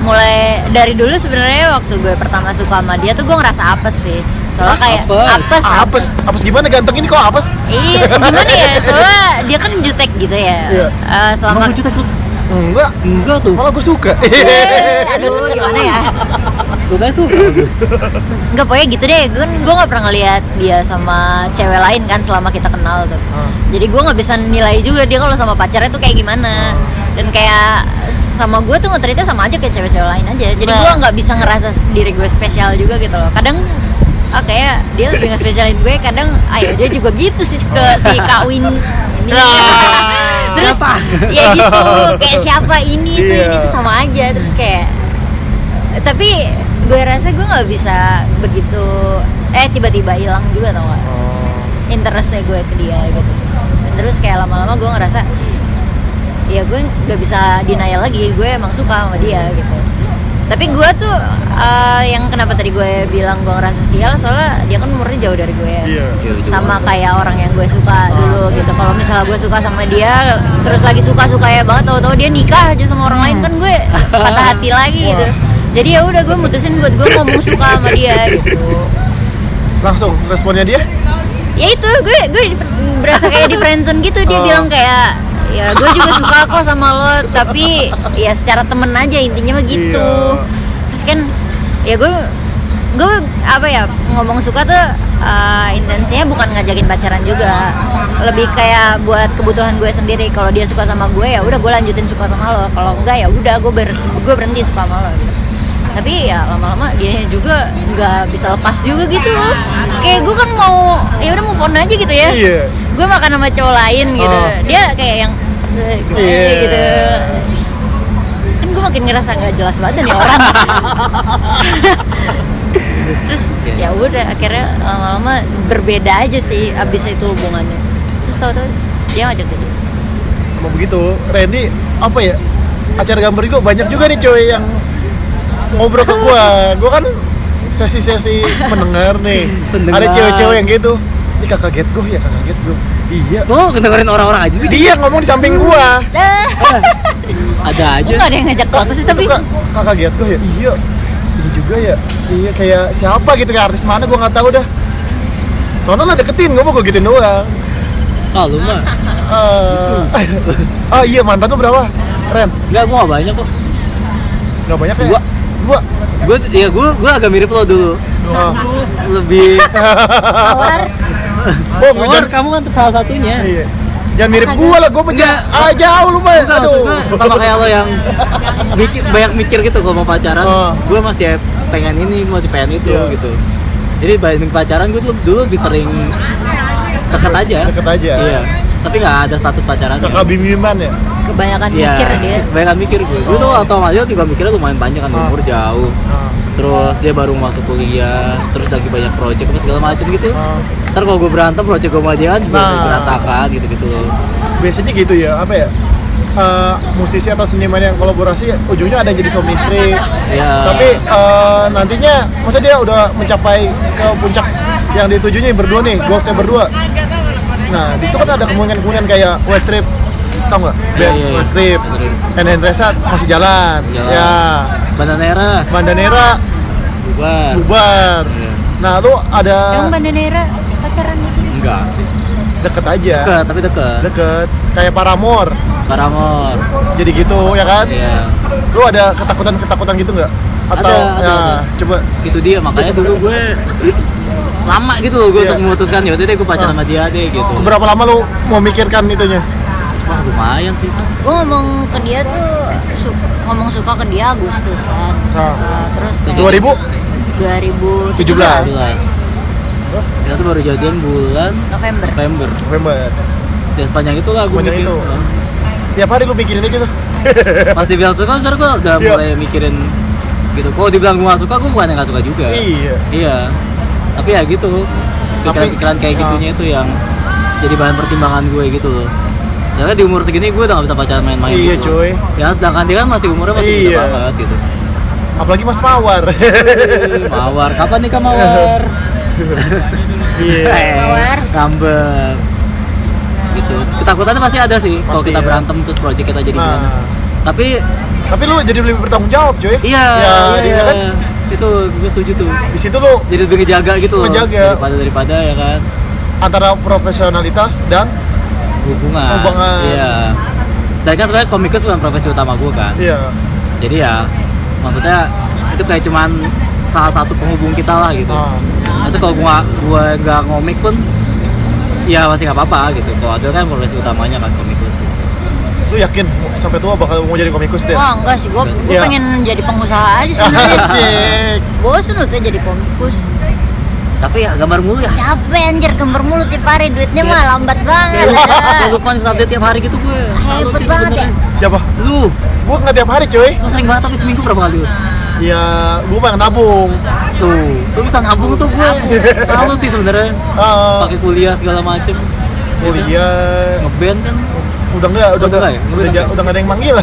Speaker 1: mulai dari dulu sebenarnya waktu gue pertama suka sama dia tuh gue ngerasa apes sih soalnya kayak
Speaker 2: Apes.
Speaker 1: apes
Speaker 3: Apes, apes gimana ganteng ini kok apes?
Speaker 1: iya gimana ya soalnya dia kan jutek gitu ya
Speaker 3: Iya.
Speaker 1: Eh, selama
Speaker 2: Emang lucu takut?
Speaker 3: Enggak,
Speaker 2: enggak tuh
Speaker 3: malah gue suka.
Speaker 1: Eh, aduh gimana ya
Speaker 2: gue gak suka gue.
Speaker 1: nggak pokoknya gitu deh gue gue nggak pernah ngeliat dia sama cewek lain kan selama kita kenal tuh
Speaker 3: Ah.
Speaker 1: jadi gue nggak bisa nilai juga dia kalau sama pacarnya tuh kayak gimana
Speaker 3: Oh.
Speaker 1: dan kayak sama gue tuh ngetritnya sama aja kayak cewek-cewek lain aja jadi
Speaker 3: Nah.
Speaker 1: gue nggak bisa ngerasa diri gue spesial juga gitu loh kadang ah kayak dia lebih ngespesialin gue kadang ayo dia juga gitu sih ke
Speaker 3: Oh.
Speaker 1: si kak Win ini terus
Speaker 2: Siapa?
Speaker 1: ya gitu kayak siapa ini itu ini
Speaker 3: Iya.
Speaker 1: tuh ya gitu, sama aja terus kayak tapi gue rasa gue nggak bisa begitu eh tiba-tiba hilang juga tau gak
Speaker 3: Oh,
Speaker 1: interestnya gue ke dia gitu Dan terus kayak lama-lama gue ngerasa ya gue nggak bisa denial lagi gue emang suka sama dia gitu tapi gue tuh eh, yang kenapa tadi gue bilang gue ngerasa sial soalnya dia kan umurnya jauh dari gue ya
Speaker 3: Iya.
Speaker 2: Iya, lucu
Speaker 1: sama
Speaker 2: banget.
Speaker 1: kayak orang yang gue suka dulu gitu kalau misalnya gue suka sama dia terus lagi suka suka ya banget tahu-tahu dia nikah aja sama orang lain kan gue patah hati lagi gitu jadi ya udah gue mutusin buat gue ngomong suka sama dia gitu
Speaker 3: Langsung responnya dia?
Speaker 1: ya itu gue gue di- berasa kayak di friendzone gitu dia
Speaker 3: Oh.
Speaker 1: bilang kayak ya gue juga suka kok sama lo tapi ya secara temen aja intinya mah gitu
Speaker 3: Iya.
Speaker 1: terus kan ya gue gue apa ya ngomong suka tuh uh, intensinya bukan ngajakin pacaran juga lebih kayak buat kebutuhan gue sendiri kalau dia suka sama gue ya udah gue lanjutin suka sama lo kalau enggak ya udah gue ber gue berhenti suka sama lo gitu. tapi ya lama-lama dia juga nggak bisa lepas juga gitu loh kayak gue kan mau ya udah move on aja gitu ya
Speaker 3: Iya.
Speaker 1: gue makan sama cowok lain gitu
Speaker 3: Oh.
Speaker 1: dia kayak yang "Eh, gimana ya?"
Speaker 3: Iya.
Speaker 1: gitu kan gue makin ngerasa nggak jelas banget nih orang terus ya udah akhirnya lama-lama berbeda aja sih abis itu hubungannya terus tahu-tahu dia ngajak jadi
Speaker 3: Emang begitu. Randy apa ya? Acara gambar gue banyak juga nih coy yang ngobrol ke gua. Gua kan sesi-sesi pendengar nih.
Speaker 2: Pendengar.
Speaker 3: Ada cewek-cewek yang gitu. Ini kakak kaget gue ya kakak kaget gue. Iya.
Speaker 2: lo dengerin orang-orang aja sih
Speaker 3: Dia ngomong di samping gua.
Speaker 1: dah
Speaker 3: Oh,
Speaker 2: ada
Speaker 1: kok
Speaker 3: iya.
Speaker 2: aja
Speaker 1: nggak ada yang ngajak foto sih
Speaker 3: Itu
Speaker 1: tapi
Speaker 3: Kak- kakak kaget gue ya. Iya. Ini juga ya. Iya kayak siapa gitu kayak artis mana gua nggak tahu dah. Soalnya lah deketin, gue mau gue gituin doang
Speaker 2: ah lu mah
Speaker 3: Eh,
Speaker 1: Gitu.
Speaker 3: Ah iya mantan lu berapa? Ren?
Speaker 2: nggak gue nggak banyak kok
Speaker 3: Gak banyak ya?
Speaker 2: Dua.
Speaker 3: Dua
Speaker 2: gue ya gue gue agak mirip lo dulu
Speaker 3: Ah.
Speaker 2: lebih
Speaker 1: tawar
Speaker 3: Bong,
Speaker 2: Mawar,
Speaker 3: jangan
Speaker 2: kamu kan salah satunya
Speaker 3: Iya. Jangan mirip gua lah, gua pecah.
Speaker 2: Enggak.
Speaker 3: Ah, jauh lu, Bang.
Speaker 2: Bukan,
Speaker 3: Aduh.
Speaker 2: maksud gua Iya. sama kayak lo yang mikir, banyak mikir gitu kalau mau pacaran
Speaker 3: Oh.
Speaker 2: gue masih pengen ini masih pengen itu
Speaker 3: Iya.
Speaker 2: gitu jadi banding pacaran gue dulu, dulu lebih sering deket aja
Speaker 3: Deket aja.
Speaker 2: iya tapi nggak ada status pacaran
Speaker 3: Kakak bimbingan ya?
Speaker 1: kebanyakan
Speaker 2: Iya,
Speaker 1: Kan mikir dia
Speaker 2: kebanyakan mikir gue gue tuh atau juga mikirnya lumayan panjang kan
Speaker 3: Oh.
Speaker 2: umur jauh terus dia baru masuk kuliah terus lagi banyak project apa segala macem gitu
Speaker 3: Ah.
Speaker 2: ntar kalau gue berantem project gue sama dia kan juga
Speaker 3: Nah.
Speaker 2: berantakan gitu gitu loh
Speaker 3: Biasanya gitu ya, apa ya? Eh, musisi atau seniman yang kolaborasi ujungnya ada yang jadi suami istri
Speaker 2: Iya.
Speaker 3: tapi eh, nantinya masa dia udah mencapai ke puncak yang ditujunya berdua nih goalsnya berdua nah di situ kan ada kemungkinan-kemungkinan kayak West Strip tau nggak?
Speaker 2: Iya,
Speaker 3: Band
Speaker 2: iya, iya.
Speaker 3: West Strip
Speaker 2: West Strip.
Speaker 3: Nen Resat masih jalan,
Speaker 2: Jalan.
Speaker 3: ya
Speaker 2: bandanera
Speaker 3: Mandanera
Speaker 2: bubar
Speaker 3: bubar
Speaker 2: Iya.
Speaker 3: nah lu ada
Speaker 1: Emang Bandanera pacaran gitu
Speaker 2: enggak
Speaker 3: deket aja
Speaker 2: deket tapi deket
Speaker 3: deket kayak Paramore
Speaker 2: Paramore
Speaker 3: jadi gitu ya kan
Speaker 2: iya
Speaker 3: lu ada ketakutan-ketakutan gitu nggak? atau
Speaker 2: Ada, ada,
Speaker 3: ya,
Speaker 2: ada.
Speaker 3: coba
Speaker 2: itu dia makanya dulu gue lama gitu loh gue
Speaker 3: Iya.
Speaker 2: untuk memutuskan ya udah deh gue pacaran
Speaker 3: Ah.
Speaker 2: sama dia deh gitu
Speaker 3: Seberapa lama lu mau mikirkan itunya?
Speaker 2: wah lumayan sih
Speaker 1: gue ngomong ke dia tuh su- ngomong suka ke dia Agustusan
Speaker 3: Ah.
Speaker 1: Eh, terus kayak 2017
Speaker 3: 2000?
Speaker 2: Gila. kita tuh baru jadian bulan
Speaker 1: November
Speaker 2: November
Speaker 3: November.
Speaker 2: ya sepanjang itu lah gue
Speaker 3: Sepanjang
Speaker 2: mikir Nah,
Speaker 3: itu. Tiap hari lu mikirin aja tuh.
Speaker 2: pas dibilang suka sebenernya gue udah
Speaker 3: Iya.
Speaker 2: mulai mikirin gitu kalau dibilang gue gak suka gue bukan yang gak suka juga
Speaker 3: Iya.
Speaker 2: iya tapi ya gitu pikiran-pikiran kayak
Speaker 3: Tapi- iya.
Speaker 2: gitunya itu yang jadi bahan pertimbangan gue gitu loh karena di umur segini gue udah gak bisa pacaran main-main
Speaker 3: Iya,
Speaker 2: gitu.
Speaker 3: cuy.
Speaker 2: ya sedangkan dia kan masih umurnya masih muda
Speaker 3: Iya.
Speaker 2: banget gitu
Speaker 3: apalagi Mas Mawar
Speaker 2: Eh, mawar kapan nikah mawar
Speaker 3: Iya.
Speaker 1: Mawar.
Speaker 2: ngambek gitu ketakutannya pasti ada sih kalau
Speaker 3: Pasti
Speaker 2: kita
Speaker 3: ya.
Speaker 2: berantem terus proyek kita jadi
Speaker 3: Nah,
Speaker 2: gimana tapi
Speaker 3: tapi lu jadi lebih bertanggung jawab coy
Speaker 2: iya
Speaker 3: ya,
Speaker 2: iya,
Speaker 3: jadi
Speaker 2: iya.
Speaker 3: kan
Speaker 2: itu gue setuju tuh
Speaker 3: di situ lu
Speaker 2: jadi lebih ngejaga gitu loh
Speaker 3: Ngejaga.
Speaker 2: daripada daripada ya kan
Speaker 3: antara profesionalitas dan
Speaker 2: hubungan
Speaker 3: Hubungan.
Speaker 2: iya dan kan sebenarnya komikus bukan profesi utama gue kan
Speaker 3: iya
Speaker 2: jadi ya maksudnya itu kayak cuman salah satu penghubung kita lah gitu
Speaker 3: Ah.
Speaker 2: maksudnya kalau gua gua nggak ngomik pun ya masih nggak apa-apa gitu kalau ada kan profesi utamanya kan komikus gitu.
Speaker 3: lu yakin mau- sampai tua bakal mau jadi komikus deh
Speaker 1: Wah enggak sih, gue
Speaker 3: Iya.
Speaker 1: pengen jadi pengusaha aja sebenarnya.
Speaker 3: asik
Speaker 1: Bosen tuh jadi komikus.
Speaker 2: tapi ya gambar mulu ya
Speaker 1: Capek anjir kember mulut tiap hari duitnya
Speaker 2: Iya.
Speaker 1: mah lambat banget.
Speaker 2: Kayak
Speaker 1: ya.
Speaker 2: Lukman bisa update tiap hari gitu gue Salut
Speaker 1: Hebat
Speaker 2: sih
Speaker 1: banget
Speaker 2: sebenernya.
Speaker 1: ya.
Speaker 3: siapa
Speaker 2: Lu,
Speaker 3: gua nggak tiap hari coy
Speaker 2: lu sering banget tapi seminggu berapa kali lu?
Speaker 3: ya gua pengen nabung
Speaker 2: Tuh, lu bisa nabung tuh gue Salut sih sebenernya
Speaker 3: Ah, Oh, iya.
Speaker 2: Pakai kuliah segala macem
Speaker 3: kuliah
Speaker 2: Ngeband kan
Speaker 3: udah nggak udah
Speaker 2: Udah
Speaker 3: nggak
Speaker 2: nggak ya?
Speaker 3: udah
Speaker 2: Udah
Speaker 3: ja-
Speaker 2: nggak?
Speaker 3: udah nggak ada yang manggil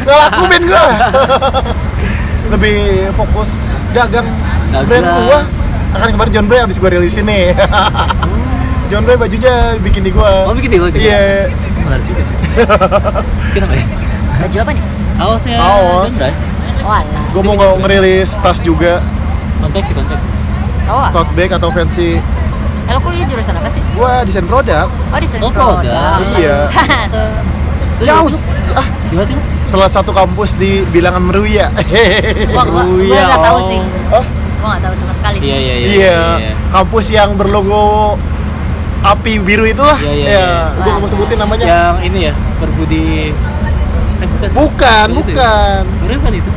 Speaker 3: nggak laku ben gua lebih fokus dagang
Speaker 2: Dagang.
Speaker 3: brand gua akan kemarin John Bray abis gua rilis ini John Bray bajunya bikin di gua
Speaker 2: Oh bikin di lo juga?
Speaker 3: iya
Speaker 2: Menarik juga. Kenapa ya?
Speaker 1: Baju apa nih? Oh,
Speaker 2: Aos ya
Speaker 3: Aos.
Speaker 2: John Bray.
Speaker 1: Walah.
Speaker 3: gua mau nge- ngerilis tas juga
Speaker 2: Konteks sih konteks
Speaker 1: Oh, ah.
Speaker 3: tote bag atau
Speaker 1: eh,
Speaker 3: fancy
Speaker 1: lo kuliah jurusan apa sih?
Speaker 3: gua desain produk
Speaker 1: Oh di
Speaker 2: Oh,
Speaker 1: Sentul.
Speaker 2: produk.
Speaker 3: Iya.
Speaker 2: Lu
Speaker 3: jauh
Speaker 2: lu-
Speaker 3: ah
Speaker 2: Gimana sih lu?
Speaker 3: salah satu kampus di bilangan Meruya
Speaker 1: Gua gua,
Speaker 2: Oh,
Speaker 1: gua
Speaker 2: iya,
Speaker 1: nggak tahu
Speaker 2: oh.
Speaker 1: sih.
Speaker 3: oh
Speaker 1: Gua nggak tahu sama sekali.
Speaker 2: Iya iya
Speaker 3: iya,
Speaker 2: iya
Speaker 3: kampus yang berlogo api biru itulah
Speaker 2: Iya, iya,
Speaker 1: iya.
Speaker 3: gua nggak mau sebutin namanya
Speaker 2: Yang ini ya, berbudi Eh bukan
Speaker 3: Bukan,
Speaker 2: Itu ya?
Speaker 3: bukan.
Speaker 2: Bener kan itu?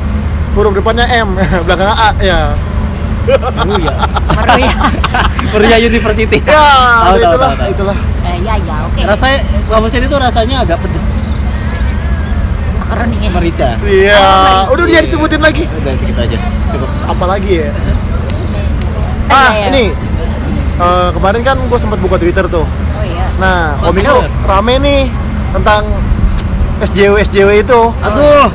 Speaker 3: Huruf depannya M, belakangnya A, ya.
Speaker 2: Meruya
Speaker 1: Meru ya.
Speaker 2: Meruya University
Speaker 3: Ya,
Speaker 2: Tahu, tahu,
Speaker 3: itulah,
Speaker 2: tahu, tahu.
Speaker 3: itulah.
Speaker 1: Eh, ya ya, oke.
Speaker 2: Rasanya, kampusnya itu rasanya agak pedes
Speaker 1: Makaroni.
Speaker 2: Merica
Speaker 3: Iya,
Speaker 1: Oh,
Speaker 3: udah dia disebutin lagi.
Speaker 2: Udah segitu aja Cukup
Speaker 3: Apalagi ya?
Speaker 1: Eh,
Speaker 3: Ah,
Speaker 1: iya, iya.
Speaker 3: ini. Eh, kemarin kan gue sempat buka Twitter tuh.
Speaker 1: Oh iya.
Speaker 3: Nah,
Speaker 2: Oh,
Speaker 3: komik tuh
Speaker 2: bener.
Speaker 3: rame nih tentang SJW SJW itu.
Speaker 2: Aduh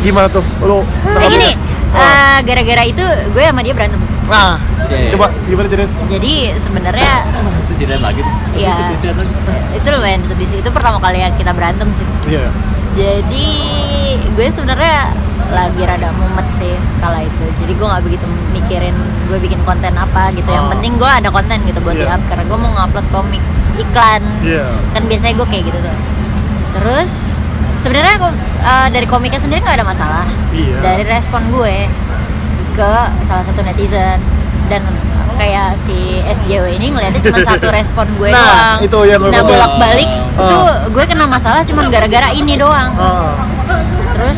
Speaker 3: Gimana tuh? Lu
Speaker 1: Eh
Speaker 3: tanggapannya?
Speaker 1: gini,
Speaker 3: Oh.
Speaker 1: eh, gara-gara itu gue sama dia berantem.
Speaker 3: Nah,
Speaker 2: Iya, iya.
Speaker 3: coba gimana jadi?
Speaker 1: Jadi sebenarnya
Speaker 2: Itu jadian lagi
Speaker 1: Iya.
Speaker 2: Itu jadian lagi.
Speaker 1: itu lumayan sedih sih. Itu pertama kali yang kita berantem sih.
Speaker 3: Iya.
Speaker 1: Jadi gue sebenarnya lagi rada mumet sih kala itu. Jadi gue nggak begitu mikirin gue bikin konten apa gitu. Yang
Speaker 3: Oh.
Speaker 1: penting gue ada konten gitu buat
Speaker 3: Iya.
Speaker 1: di-up karena gue mau ngupload komik iklan.
Speaker 3: Iya.
Speaker 1: Kan biasanya gue kayak gitu tuh. Terus sebenarnya aku, eh, dari komiknya sendiri nggak ada masalah.
Speaker 3: Iya.
Speaker 1: Dari respon gue ke salah satu netizen dan kayak si SJW ini ngeliatnya cuma satu respon gue doang.
Speaker 3: Nah, itu yang gue
Speaker 1: nah
Speaker 3: mau-
Speaker 1: bolak balik
Speaker 3: Ah.
Speaker 1: itu gue kena masalah cuman gara-gara ini doang
Speaker 3: Ah,
Speaker 1: terus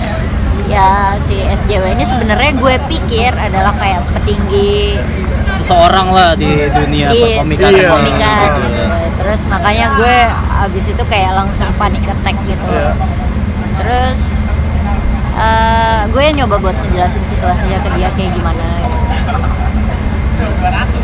Speaker 1: ya si SJW ini sebenarnya gue pikir adalah kayak petinggi
Speaker 2: Seseorang lah di dunia
Speaker 1: di
Speaker 2: perkomikan
Speaker 3: Iya.
Speaker 1: perkomikan
Speaker 3: Iya.
Speaker 1: gitu. terus makanya gue abis itu kayak langsung panik attack gitu
Speaker 3: Iya.
Speaker 1: terus eh, gue nyoba buat ngejelasin situasinya ke dia kayak gimana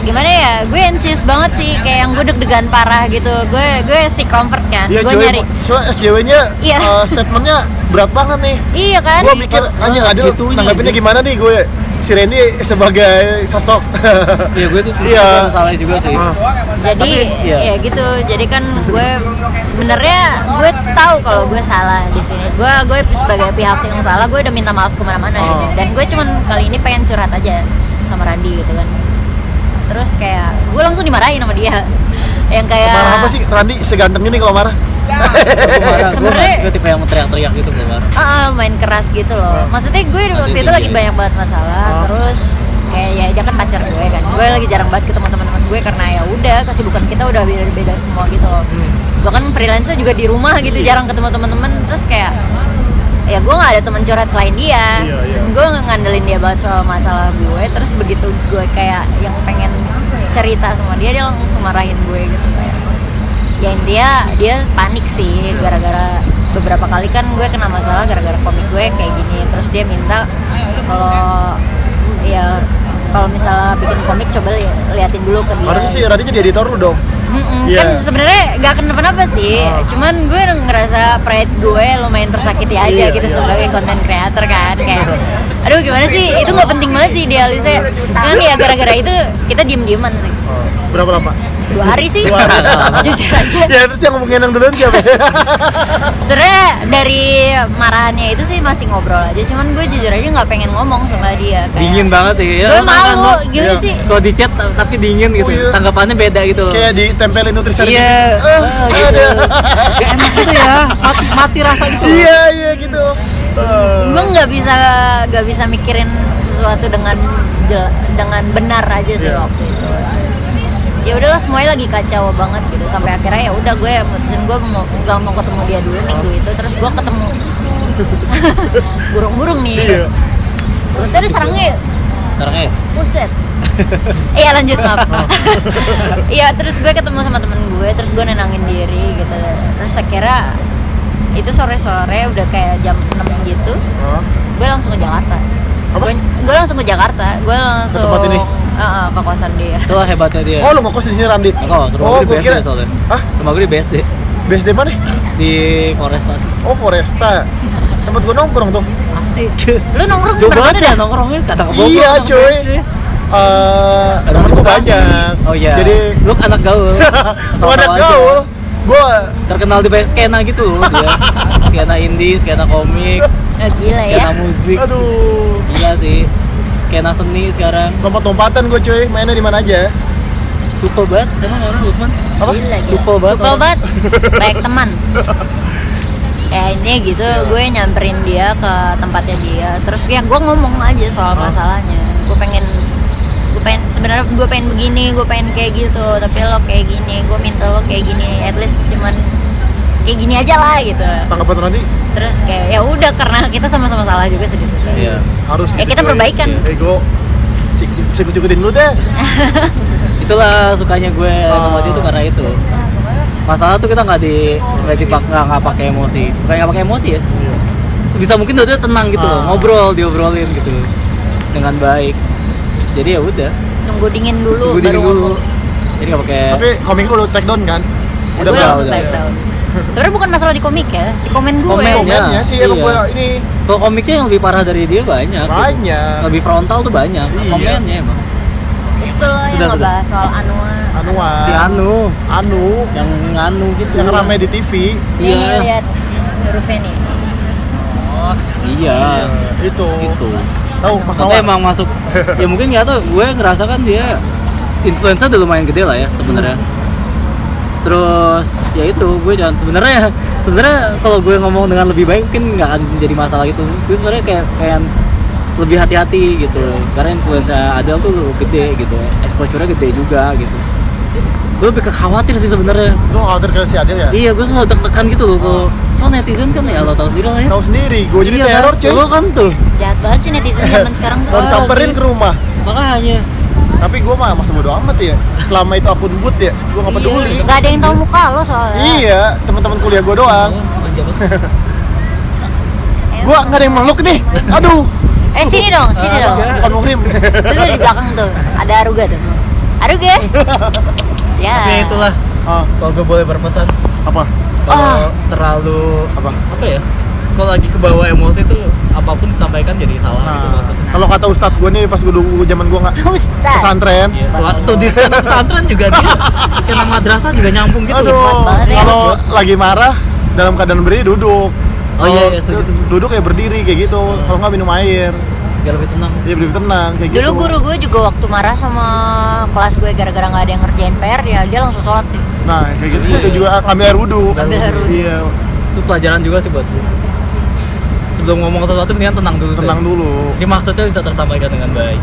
Speaker 1: gimana ya gue anxious banget sih kayak yang gue deg-degan parah gitu gue gue stick comfort kan
Speaker 3: Iya,
Speaker 1: gue
Speaker 3: coy,
Speaker 1: nyari
Speaker 3: soalnya SJW-nya
Speaker 1: Iya.
Speaker 3: eh, statementnya berat banget nih.
Speaker 1: iya kan
Speaker 3: gue mikir
Speaker 2: Ah,
Speaker 3: anjing
Speaker 2: ah,
Speaker 3: adil
Speaker 2: segitunya,
Speaker 3: tanggapinnya
Speaker 2: anjing."
Speaker 3: gimana nih gue si Randy sebagai sosok
Speaker 2: Iya gue tuh
Speaker 3: Iya.
Speaker 2: masalahnya juga sih
Speaker 3: Ah,
Speaker 1: jadi
Speaker 2: Tapi, iya.
Speaker 1: ya gitu jadi kan gue sebenarnya gue tahu kalau gue salah di sini gue gue sebagai pihak yang salah gue udah minta maaf kemana-mana di
Speaker 3: Oh.
Speaker 1: sini dan gue cuman kali ini pengen curhat aja sama Randi gitu kan terus kayak gue langsung dimarahin sama dia yang kayak
Speaker 3: marah apa sih Randy seganteng ini kalau marah
Speaker 1: Iya.
Speaker 2: Gue marah, gue
Speaker 1: Sebenarnya-
Speaker 2: gue tipe yang teriak-teriak gitu gue marah
Speaker 1: Ah, ah, main keras gitu loh. Maksudnya gue waktu
Speaker 2: Maksudnya
Speaker 1: itu lagi
Speaker 2: dia-
Speaker 1: banyak banget
Speaker 3: Ah.
Speaker 1: masalah, terus kayak ya dia kan pacar gue kan. Gue lagi jarang banget ketemu teman-teman gue karena ya udah kesibukan kita udah beda-beda semua gitu. loh.
Speaker 3: Hmm.
Speaker 1: Gue kan freelancer juga di rumah gitu, jarang ketemu teman-teman. Terus kayak ya gue nggak ada teman curhat selain dia.
Speaker 3: Iya, iya.
Speaker 1: Gue ngandelin dia banget soal masalah gue. Terus begitu gue kayak yang pengen cerita sama dia dia langsung marahin gue gitu kayak ya intinya dia panik sih gara-gara beberapa kali kan gue kena masalah gara-gara komik gue kayak gini terus dia minta kalau ya kalau misalnya bikin komik coba li- liatin dulu ke dia
Speaker 3: Harusnya sih Radit jadi editor lu dong.
Speaker 1: Mm-mm,
Speaker 3: Iya. Ah.
Speaker 1: kan sebenarnya gak kenapa-napa sih cuman gue ngerasa pride gue lumayan tersakiti aja
Speaker 3: Iya,
Speaker 1: gitu
Speaker 3: iya.
Speaker 1: sebagai konten creator kan kayak aduh gimana sih itu nggak penting banget sih idealisnya kan ya gara-gara itu kita diem-dieman sih
Speaker 2: Ah.
Speaker 3: Berapa lama?
Speaker 1: dua hari sih
Speaker 3: Dua hari.
Speaker 1: jujur aja
Speaker 3: ya terus yang ngomongin yang duluan siapa?
Speaker 1: sebenarnya dari marahannya itu sih masih ngobrol aja cuman gue jujur aja nggak pengen ngomong sama dia kayak
Speaker 2: dingin banget sih ya,
Speaker 1: Gue
Speaker 2: lu tau kan,
Speaker 1: malu,
Speaker 2: lu-
Speaker 1: gimana
Speaker 2: iya.
Speaker 1: sih?
Speaker 2: kalau di chat ta- tapi dingin gitu
Speaker 3: Oh, iya.
Speaker 2: tanggapannya beda gitu loh
Speaker 3: Kayak ditempelin nutrisari.
Speaker 2: iya
Speaker 3: Eh,
Speaker 2: eh, gitu. Gak enak gitu ya mati, mati rasa gitu loh.
Speaker 3: Iya iya gitu.
Speaker 2: Ah.
Speaker 3: Eh,
Speaker 1: gue nggak bisa nggak bisa mikirin sesuatu dengan jel- dengan benar aja sih
Speaker 3: Iya.
Speaker 1: waktu itu ya udahlah semuanya lagi kacau banget gitu sampai akhirnya ya udah gue mutusin gue mau nggak mau ketemu dia dulu minggu itu terus gue ketemu burung-burung nih
Speaker 3: Iya.
Speaker 1: terus tadi serangnya
Speaker 2: Orangnya ya?
Speaker 1: Buset. Iya lanjut maaf. Iya terus gue ketemu sama temen gue, terus gue nenangin diri gitu. Terus akhirnya itu sore-sore udah kayak jam 6 gitu,
Speaker 3: Hah?
Speaker 1: gue langsung ke Jakarta.
Speaker 3: Apa?
Speaker 1: Gue, gue langsung ke Jakarta, gue langsung
Speaker 3: tempat ini?
Speaker 1: Heeh, ke kosan dia.
Speaker 2: itu hebatnya dia
Speaker 3: Oh lu ngekos di sini Randi?
Speaker 2: Ngekos,
Speaker 3: oh
Speaker 2: rumah gue di
Speaker 3: gue
Speaker 2: BSD
Speaker 3: kira.
Speaker 2: soalnya.
Speaker 3: Hah?
Speaker 2: rumah gue di BSD
Speaker 3: BSD mana?
Speaker 2: di Foresta sih
Speaker 3: Oh Foresta. Tempat gue nongkrong tuh.
Speaker 2: asik
Speaker 1: Lu nongkrong di
Speaker 2: jauh
Speaker 1: mana
Speaker 2: banget ya
Speaker 1: dah?
Speaker 2: nongkrongnya kata ke Bogor
Speaker 3: Iya
Speaker 2: sama
Speaker 3: cuy.
Speaker 2: BSD.
Speaker 3: Eh, temen gue banyak.
Speaker 2: Oh iya.
Speaker 3: Jadi
Speaker 2: lu anak gaul. Sama
Speaker 3: gue ada
Speaker 2: tahu aja.
Speaker 3: gaul. Gue
Speaker 2: Terkenal di banyak skena gitu dia. skena indie, skena komik,
Speaker 1: Eh, gila ya.
Speaker 2: skena musik.
Speaker 3: aduh
Speaker 2: Gila sih. Skena seni sekarang
Speaker 3: lompat-lompatan gue cuy mainnya di mana aja
Speaker 2: super banget emang orang Lukman.
Speaker 3: apa?
Speaker 1: Gila, gila.
Speaker 2: Supel banget
Speaker 1: Supel
Speaker 2: orang.
Speaker 1: banget. Baik teman. Ya ini gitu,
Speaker 2: Iya.
Speaker 1: gue nyamperin dia ke tempatnya dia. Terus ya gue ngomong aja soal masalahnya. Gue pengen, gue pengen sebenarnya gue pengen begini, gue pengen kayak gitu. Tapi lo kayak gini, gue minta lo kayak gini. At least cuman kayak gini aja lah gitu.
Speaker 3: tanggapan Randi
Speaker 1: Terus kayak ya udah karena kita sama-sama salah juga gitu. sedikit.
Speaker 2: Iya.
Speaker 3: harus
Speaker 1: Ya,
Speaker 3: gitu,
Speaker 1: kita
Speaker 3: cuy.
Speaker 1: perbaikan.
Speaker 3: Iya, ego Cik- sikut-sikutin dulu deh
Speaker 2: Itulah sukanya gue sama
Speaker 3: Oh.
Speaker 2: dia tuh karena itu. Masalah tuh kita nggak di nggak dipak nggak nggak pakai emosi. Bukan nggak pakai emosi ya. Sebisa mungkin dia tuh tenang gitu,
Speaker 3: Iya. Ah.
Speaker 2: ngobrol, diobrolin gitu dengan baik. Jadi ya udah,
Speaker 1: Nunggu dingin dulu,
Speaker 2: gue
Speaker 1: baru
Speaker 2: dingin dulu.
Speaker 1: ngomong.
Speaker 2: Jadi nggak pakai
Speaker 3: tapi komik lu take down kan?
Speaker 1: Ya,
Speaker 2: Udah,
Speaker 1: gue
Speaker 2: udah,
Speaker 1: langsung
Speaker 2: udah.
Speaker 1: type down. Sebenarnya bukan masalah di komik ya, di komen gue.
Speaker 2: Komen.
Speaker 3: komennya sih emang
Speaker 2: Iya.
Speaker 3: gue ini
Speaker 2: Kalau komiknya yang lebih parah dari dia banyak. gitu.
Speaker 3: Banyak.
Speaker 2: Lebih frontal tuh banyak.
Speaker 3: Iya.
Speaker 2: Komennya emang.
Speaker 1: Itu loh yang
Speaker 2: Sudah,
Speaker 1: ngebahas soal Anua.
Speaker 3: Anwar
Speaker 2: Si Anu,
Speaker 3: Anu
Speaker 2: yang Anu gitu.
Speaker 3: yang ramai di TV
Speaker 1: Nih,
Speaker 2: Iya.
Speaker 1: lihat hurufnya nih.
Speaker 2: Iya. Gitu.
Speaker 3: itu
Speaker 2: Itu.
Speaker 3: tahu Mas
Speaker 2: Tapi
Speaker 3: Mawar
Speaker 2: emang masuk. ya mungkin nggak tau. Gue ngerasa kan dia influencer udah lumayan gede lah ya sebenarnya. Terus ya itu gue jangan sebenarnya sebenarnya kalau gue ngomong dengan lebih baik mungkin nggak akan jadi masalah gitu. Gue sebenarnya kayak pengen lebih hati-hati gitu karena influencer Adele tuh gede gitu exposure-nya gede juga gitu gue lebih ke khawatir sih sebenarnya
Speaker 3: lu khawatir ke si Adil ya?
Speaker 2: Iya, gue selalu deg-degan gitu loh. Kalau soal netizen kan ya lo tau sendiri lah ya.
Speaker 3: tahu sendiri gue jadi
Speaker 2: Iya kan?
Speaker 3: teror cuy
Speaker 2: Lo kan tuh.
Speaker 1: Jahat banget sih netizen zaman sekarang tuh. Iya.
Speaker 3: harus samperin ke rumah
Speaker 2: Makanya.
Speaker 3: tapi gue mah masih bodo amat ya selama itu akun boot ya gue gak
Speaker 2: Iya.
Speaker 3: peduli
Speaker 1: Gak ada yang tahu muka lo soalnya.
Speaker 3: iya teman-teman kuliah gue doang
Speaker 1: Eh,
Speaker 3: gue nggak ada yang meluk nih aduh
Speaker 1: Eh sini dong, sini
Speaker 3: Ah,
Speaker 1: dong.
Speaker 3: bukan muhrim
Speaker 1: Itu tuh di belakang tuh. Ada Aruga tuh. Aruga. ya.
Speaker 2: Tapi itulah
Speaker 3: ah,
Speaker 2: kalau gue boleh berpesan
Speaker 3: apa
Speaker 2: kalau terlalu apa? Apa ya? Kalau lagi kebawa emosi tuh apapun disampaikan jadi salah
Speaker 3: Nah,
Speaker 2: gitu maksudnya.
Speaker 3: kalau kata ustadz gue nih pas gue dulu zaman gue nggak
Speaker 1: Ustaz.
Speaker 3: pesantren
Speaker 2: Iya. Tuh- Tuh di sekitar pesantren juga dia. Sekitar madrasah juga nyambung gitu.
Speaker 3: aduh
Speaker 1: hebat banget ya.
Speaker 3: kalau lagi marah dalam keadaan berdiri duduk
Speaker 2: Oh iya, iya,
Speaker 3: Kalau
Speaker 2: setuju.
Speaker 3: duduk ya berdiri kayak gitu kalau nggak minum air
Speaker 2: Biar lebih tenang.
Speaker 3: ya berdiri tenang kayak gitu
Speaker 1: Dulu guru gue juga waktu marah sama kelas gue gara-gara nggak ada yang ngerjain PR ya dia langsung sholat sih.
Speaker 3: nah kayak gitu itu juga ambil air wudhu
Speaker 1: Ambil air wudhu.
Speaker 3: iya
Speaker 2: Itu pelajaran juga sih buat gue. Sebelum ngomong sesuatu mendingan tenang dulu. sih.
Speaker 3: tenang dulu
Speaker 2: Ini maksudnya bisa tersampaikan dengan baik.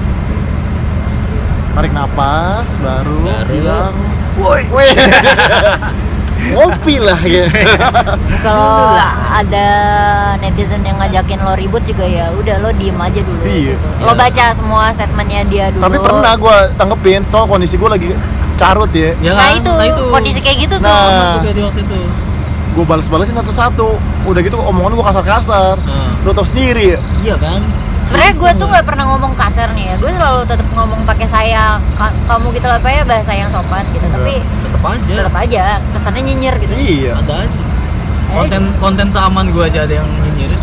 Speaker 3: tarik napas baru,
Speaker 2: Baru.
Speaker 3: bilang woi woi ngopi lah ya
Speaker 1: Kalau ada netizen yang ngajakin lo ribut juga ya udah lo diem aja dulu.
Speaker 3: Iya.
Speaker 1: gitu. Lo
Speaker 2: Iya.
Speaker 1: baca semua statementnya dia dulu.
Speaker 3: tapi pernah gue tanggepin soal kondisi gue lagi carut ya
Speaker 2: Ya
Speaker 1: Nah, itu, kondisi kayak gitu tuh.
Speaker 3: Nah.
Speaker 2: Sama juga di waktu itu.
Speaker 3: gue balas-balasin satu-satu udah gitu omongan gue kasar-kasar
Speaker 2: Nah.
Speaker 3: lo tau sendiri ya
Speaker 2: Iya kan?
Speaker 1: sebenarnya gue tuh nggak pernah ngomong kasar nih ya gue selalu tetap ngomong pakai saya ka- kamu gitu apa ya bahasa yang sopan gitu tapi
Speaker 4: tetap aja
Speaker 1: tetap aja kesannya nyinyir gitu
Speaker 3: Iya.
Speaker 4: ada aja konten konten seaman gua aja ada yang nyinyirin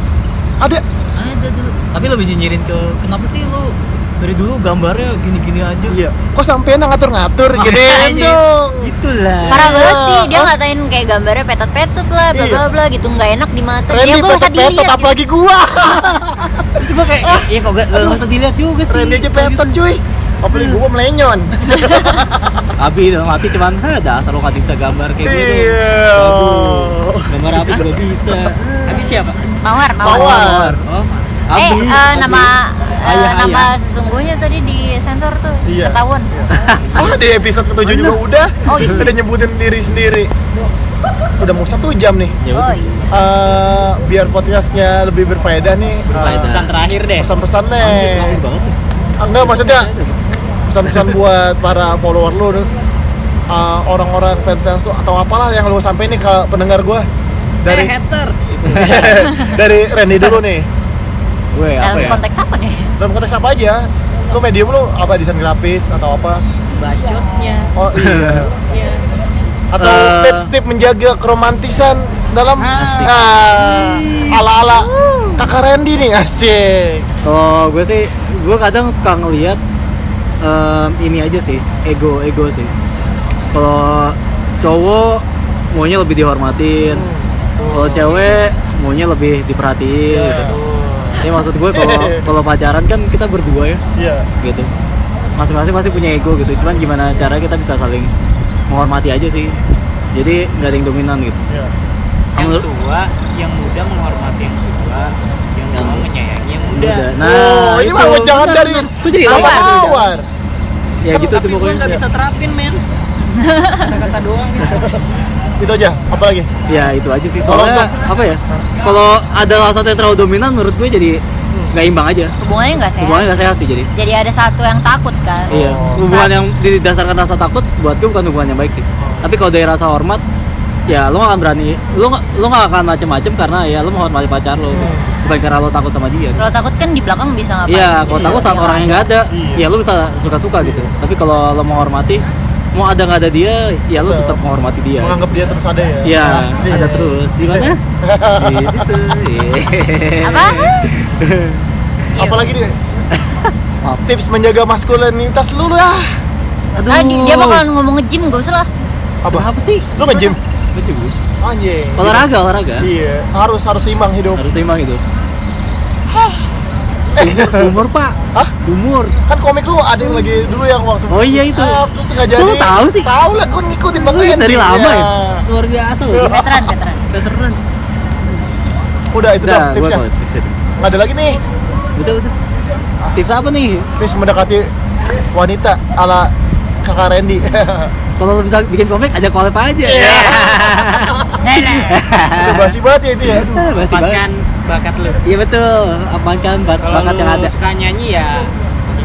Speaker 3: Ada
Speaker 4: ada dulu tapi lebih nyinyirin ke kenapa sih lu dari dulu gambarnya gini-gini aja
Speaker 3: Iya. Kok sampean yang ngatur-ngatur gini
Speaker 4: Makanya.
Speaker 3: dong.
Speaker 2: Itulah.
Speaker 1: parah banget sih dia
Speaker 3: Ah.
Speaker 1: ngatain kayak gambarnya petot-petot lah bla bla bla gitu nggak enak di mata
Speaker 3: Randy
Speaker 1: dia gue usah
Speaker 3: Iya. petot-petot
Speaker 1: dilihat gitu.
Speaker 3: apalagi gua.
Speaker 2: Terus gua kayak, "Eh, iya kok gak, gak usah dilihat juga sih. gitu.
Speaker 3: Randy aja petot cuy. Apalagi gua melenyon.
Speaker 2: Abi dalam hati cuman, ha dasar lo gak bisa gambar kayak gitu.
Speaker 3: Iya.
Speaker 2: Aduh, Gambar Abi juga bisa.
Speaker 5: Habis siapa?
Speaker 1: mawar mawar,
Speaker 3: Mawar.
Speaker 2: Oh,
Speaker 1: eh
Speaker 2: Abi.
Speaker 1: eh,
Speaker 2: Abi.
Speaker 1: nama eh,
Speaker 2: Ayah,
Speaker 1: nama
Speaker 2: ayah.
Speaker 1: sesungguhnya tadi di sensor tuh
Speaker 3: Iya.
Speaker 1: ketahuan
Speaker 3: Ah, di episode ketujuh juga udah.
Speaker 1: Oh, iya.
Speaker 3: Udah nyebutin diri sendiri. Udah mau satu jam nih.
Speaker 2: Ya
Speaker 1: oh
Speaker 2: udah.
Speaker 1: iya
Speaker 3: Eh, biar podcastnya lebih berfaedah nih. eh,
Speaker 2: Berfaedah.
Speaker 5: Pesan terakhir deh.
Speaker 3: Pesan-pesan nih.
Speaker 2: Anjir, terakhir banget.
Speaker 3: Ah, Enggak maksudnya pesan-pesan buat para follower lu uh, orang-orang fans-fans tuh atau apalah yang lu sampein nih ke pendengar gua
Speaker 1: Eh.
Speaker 5: Dari
Speaker 3: dari
Speaker 5: haters gitu.
Speaker 3: dari Randy dulu nih
Speaker 2: Gue apa
Speaker 1: dalam
Speaker 2: ya?
Speaker 1: konteks apa nih
Speaker 3: dalam konteks apa aja lu medium lu apa desain grafis atau apa
Speaker 5: Bacotnya.
Speaker 3: oh iya
Speaker 5: Ya.
Speaker 3: atau
Speaker 2: Eh.
Speaker 3: tips-tips menjaga keromantisan dalam
Speaker 5: Asik.
Speaker 3: ah, ala-ala kakak Randy nih asik
Speaker 2: Oh, gue sih, gue kadang suka ngelihat em, ini aja sih, ego, ego sih. Kalau cowok maunya lebih dihormatin,
Speaker 3: Hmm,
Speaker 2: kalau
Speaker 3: oh.
Speaker 2: cewek maunya lebih diperhatiin.
Speaker 3: Iya.
Speaker 2: Oh, Gitu. Ya maksud gue kalau kalau pacaran kan kita berdua ya,
Speaker 3: iya
Speaker 2: gitu. Masing-masing pasti punya ego gitu. Cuman gimana cara kita bisa saling menghormati aja sih. Jadi nggak ada yang dominan gitu.
Speaker 3: iya
Speaker 5: Yang
Speaker 2: Menurut-
Speaker 5: tua, yang muda menghormati yang tua, yang
Speaker 2: Yang-
Speaker 5: tua menyayangi yang muda.
Speaker 2: Udah. Nah,
Speaker 3: Oh, ini mah jangan
Speaker 2: Bentar,
Speaker 3: dari-
Speaker 2: bentar. Gue jadi
Speaker 1: Apa?
Speaker 2: lapar.
Speaker 3: mawar
Speaker 2: Ya gitu
Speaker 5: Tapi
Speaker 2: tuh
Speaker 5: gue nggak
Speaker 2: pokoknya.
Speaker 5: bisa terapin men. Kata-kata doang.
Speaker 3: itu aja apa lagi
Speaker 2: ya itu aja sih
Speaker 3: Kalau
Speaker 2: soalnya apa ya kalau ada salah satu yang terlalu dominan menurut gue jadi nggak imbang aja
Speaker 1: hubungannya nggak sehat
Speaker 2: hubungannya nggak sehat sih jadi
Speaker 1: jadi ada satu yang takut kan
Speaker 3: Oh.
Speaker 2: iya hubungan yang didasarkan rasa takut buat gue bukan hubungan yang baik sih
Speaker 3: Oh.
Speaker 2: tapi kalau dari rasa hormat ya lo gak akan berani lo nggak- lo gak akan macem-macem karena ya lo menghormati pacar lo
Speaker 3: Hmm.
Speaker 2: bukan karena lo takut sama dia
Speaker 1: kalau takut kan di belakang bisa ngapain
Speaker 2: Iya, kalau takut saat
Speaker 1: Iya.
Speaker 2: orangnya nggak ada,
Speaker 3: Iya.
Speaker 2: ya lu bisa suka-suka gitu. Tapi kalau lo menghormati, mau ada nggak ada dia, ya lo
Speaker 3: Betul.
Speaker 2: tetap menghormati dia.
Speaker 3: menganggap dia terus ada ya
Speaker 2: Iya,
Speaker 3: Asik.
Speaker 2: ada terus. Di mana? Di situ. Iya.
Speaker 1: apa
Speaker 3: apalagi nih
Speaker 2: Maaf.
Speaker 3: tips menjaga maskulinitas lu lah
Speaker 2: Aduh.
Speaker 1: Ah, di- dia bakal ngomong nge-gym gak usah lah
Speaker 3: apa
Speaker 2: apa sih?
Speaker 3: lu nge-gym
Speaker 2: Lucu, Bu.
Speaker 3: anjing
Speaker 2: Olahraga, olahraga.
Speaker 3: iya harus harus imbang hidup
Speaker 2: Harus seimbang itu.
Speaker 3: eh
Speaker 2: Umur, Pak.
Speaker 3: Hah?
Speaker 2: Umur.
Speaker 3: kan komik lu ada yang lagi dulu yang waktu
Speaker 2: Oh, iya, itu.
Speaker 3: Ah, terus nggak jadi
Speaker 2: Kok lu tahu sih?
Speaker 3: tahu lah gua ngikutin banget
Speaker 2: dari lama ya? Luar biasa loh.
Speaker 1: veteran veteran
Speaker 2: Veteran.
Speaker 3: udah itu
Speaker 2: Udah,
Speaker 3: dah
Speaker 2: gua
Speaker 3: tipsnya
Speaker 2: tahu tipsnya.
Speaker 3: nggak ada lagi nih
Speaker 2: Udah, udah. Tips apa nih?
Speaker 3: tips mendekati wanita ala kakak Randy
Speaker 2: Kalau lo bisa bikin komik, ajak collab aja.
Speaker 3: Iya.
Speaker 1: Nah,
Speaker 5: Nenek.
Speaker 3: udah basi banget ya itu ya aduh
Speaker 2: Ah, Masih banget.
Speaker 1: kan?
Speaker 5: Manfaatkan bakat lu.
Speaker 2: Iya betul. Apaan kan bak-
Speaker 5: Kalau
Speaker 2: bakat yang
Speaker 5: lu
Speaker 2: ada.
Speaker 5: suka nyanyi ya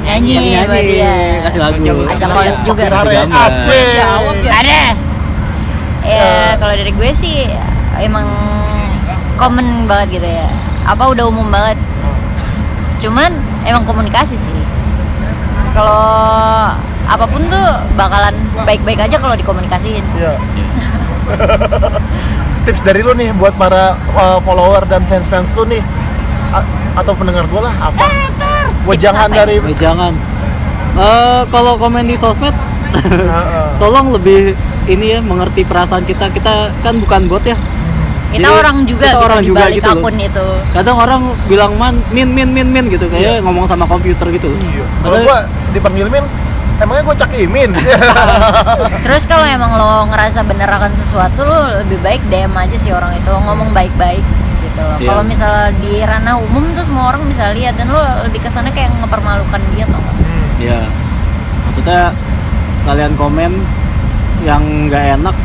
Speaker 1: Nyanyi. Iya, sama dia.
Speaker 2: kasih lagu.
Speaker 1: Ajak collab juga.
Speaker 2: Kasih
Speaker 3: Rare,
Speaker 2: gambar.
Speaker 3: asik
Speaker 5: Jawab ya.
Speaker 1: ada
Speaker 3: Eh.
Speaker 1: ya kalau dari gue sih emang common banget gitu ya apa udah umum banget cuman emang komunikasi sih kalau apapun tuh bakalan baik-baik aja kalau dikomunikasiin
Speaker 3: Iya. Tips dari lu nih buat para uh, follower dan fans-fans lu nih A- atau pendengar gue lah apa? Buat
Speaker 1: Tips
Speaker 3: jangan
Speaker 1: apa ya?
Speaker 3: dari
Speaker 2: Eh, jangan. Eh, kalau komen di sosmed,
Speaker 3: Heeh.
Speaker 2: tolong lebih ini ya mengerti perasaan kita. Kita kan bukan bot ya.
Speaker 1: kita
Speaker 2: Jadi,
Speaker 1: orang juga
Speaker 2: kita
Speaker 1: gitu
Speaker 2: orang
Speaker 1: di
Speaker 2: juga
Speaker 1: balik
Speaker 2: gitu loh.
Speaker 1: akun itu
Speaker 2: Kadang orang bilang man min min min min gitu
Speaker 1: Iya.
Speaker 2: kayak ngomong sama komputer gitu.
Speaker 3: Iya. Kalau
Speaker 2: Padahal-
Speaker 3: gue dipanggil Min, emangnya gue cak Imin? Iya.
Speaker 1: Terus kalau emang lo ngerasa bener akan sesuatu lo lebih baik DM aja sih orang itu ngomong baik-baik gitu loh.
Speaker 2: Iya.
Speaker 1: Kalau misalnya di ranah umum tuh semua orang bisa lihat dan lo lebih kesana kayak ngepermalukan dia tuh.
Speaker 2: Ya. Maksudnya kalian komen yang nggak enak,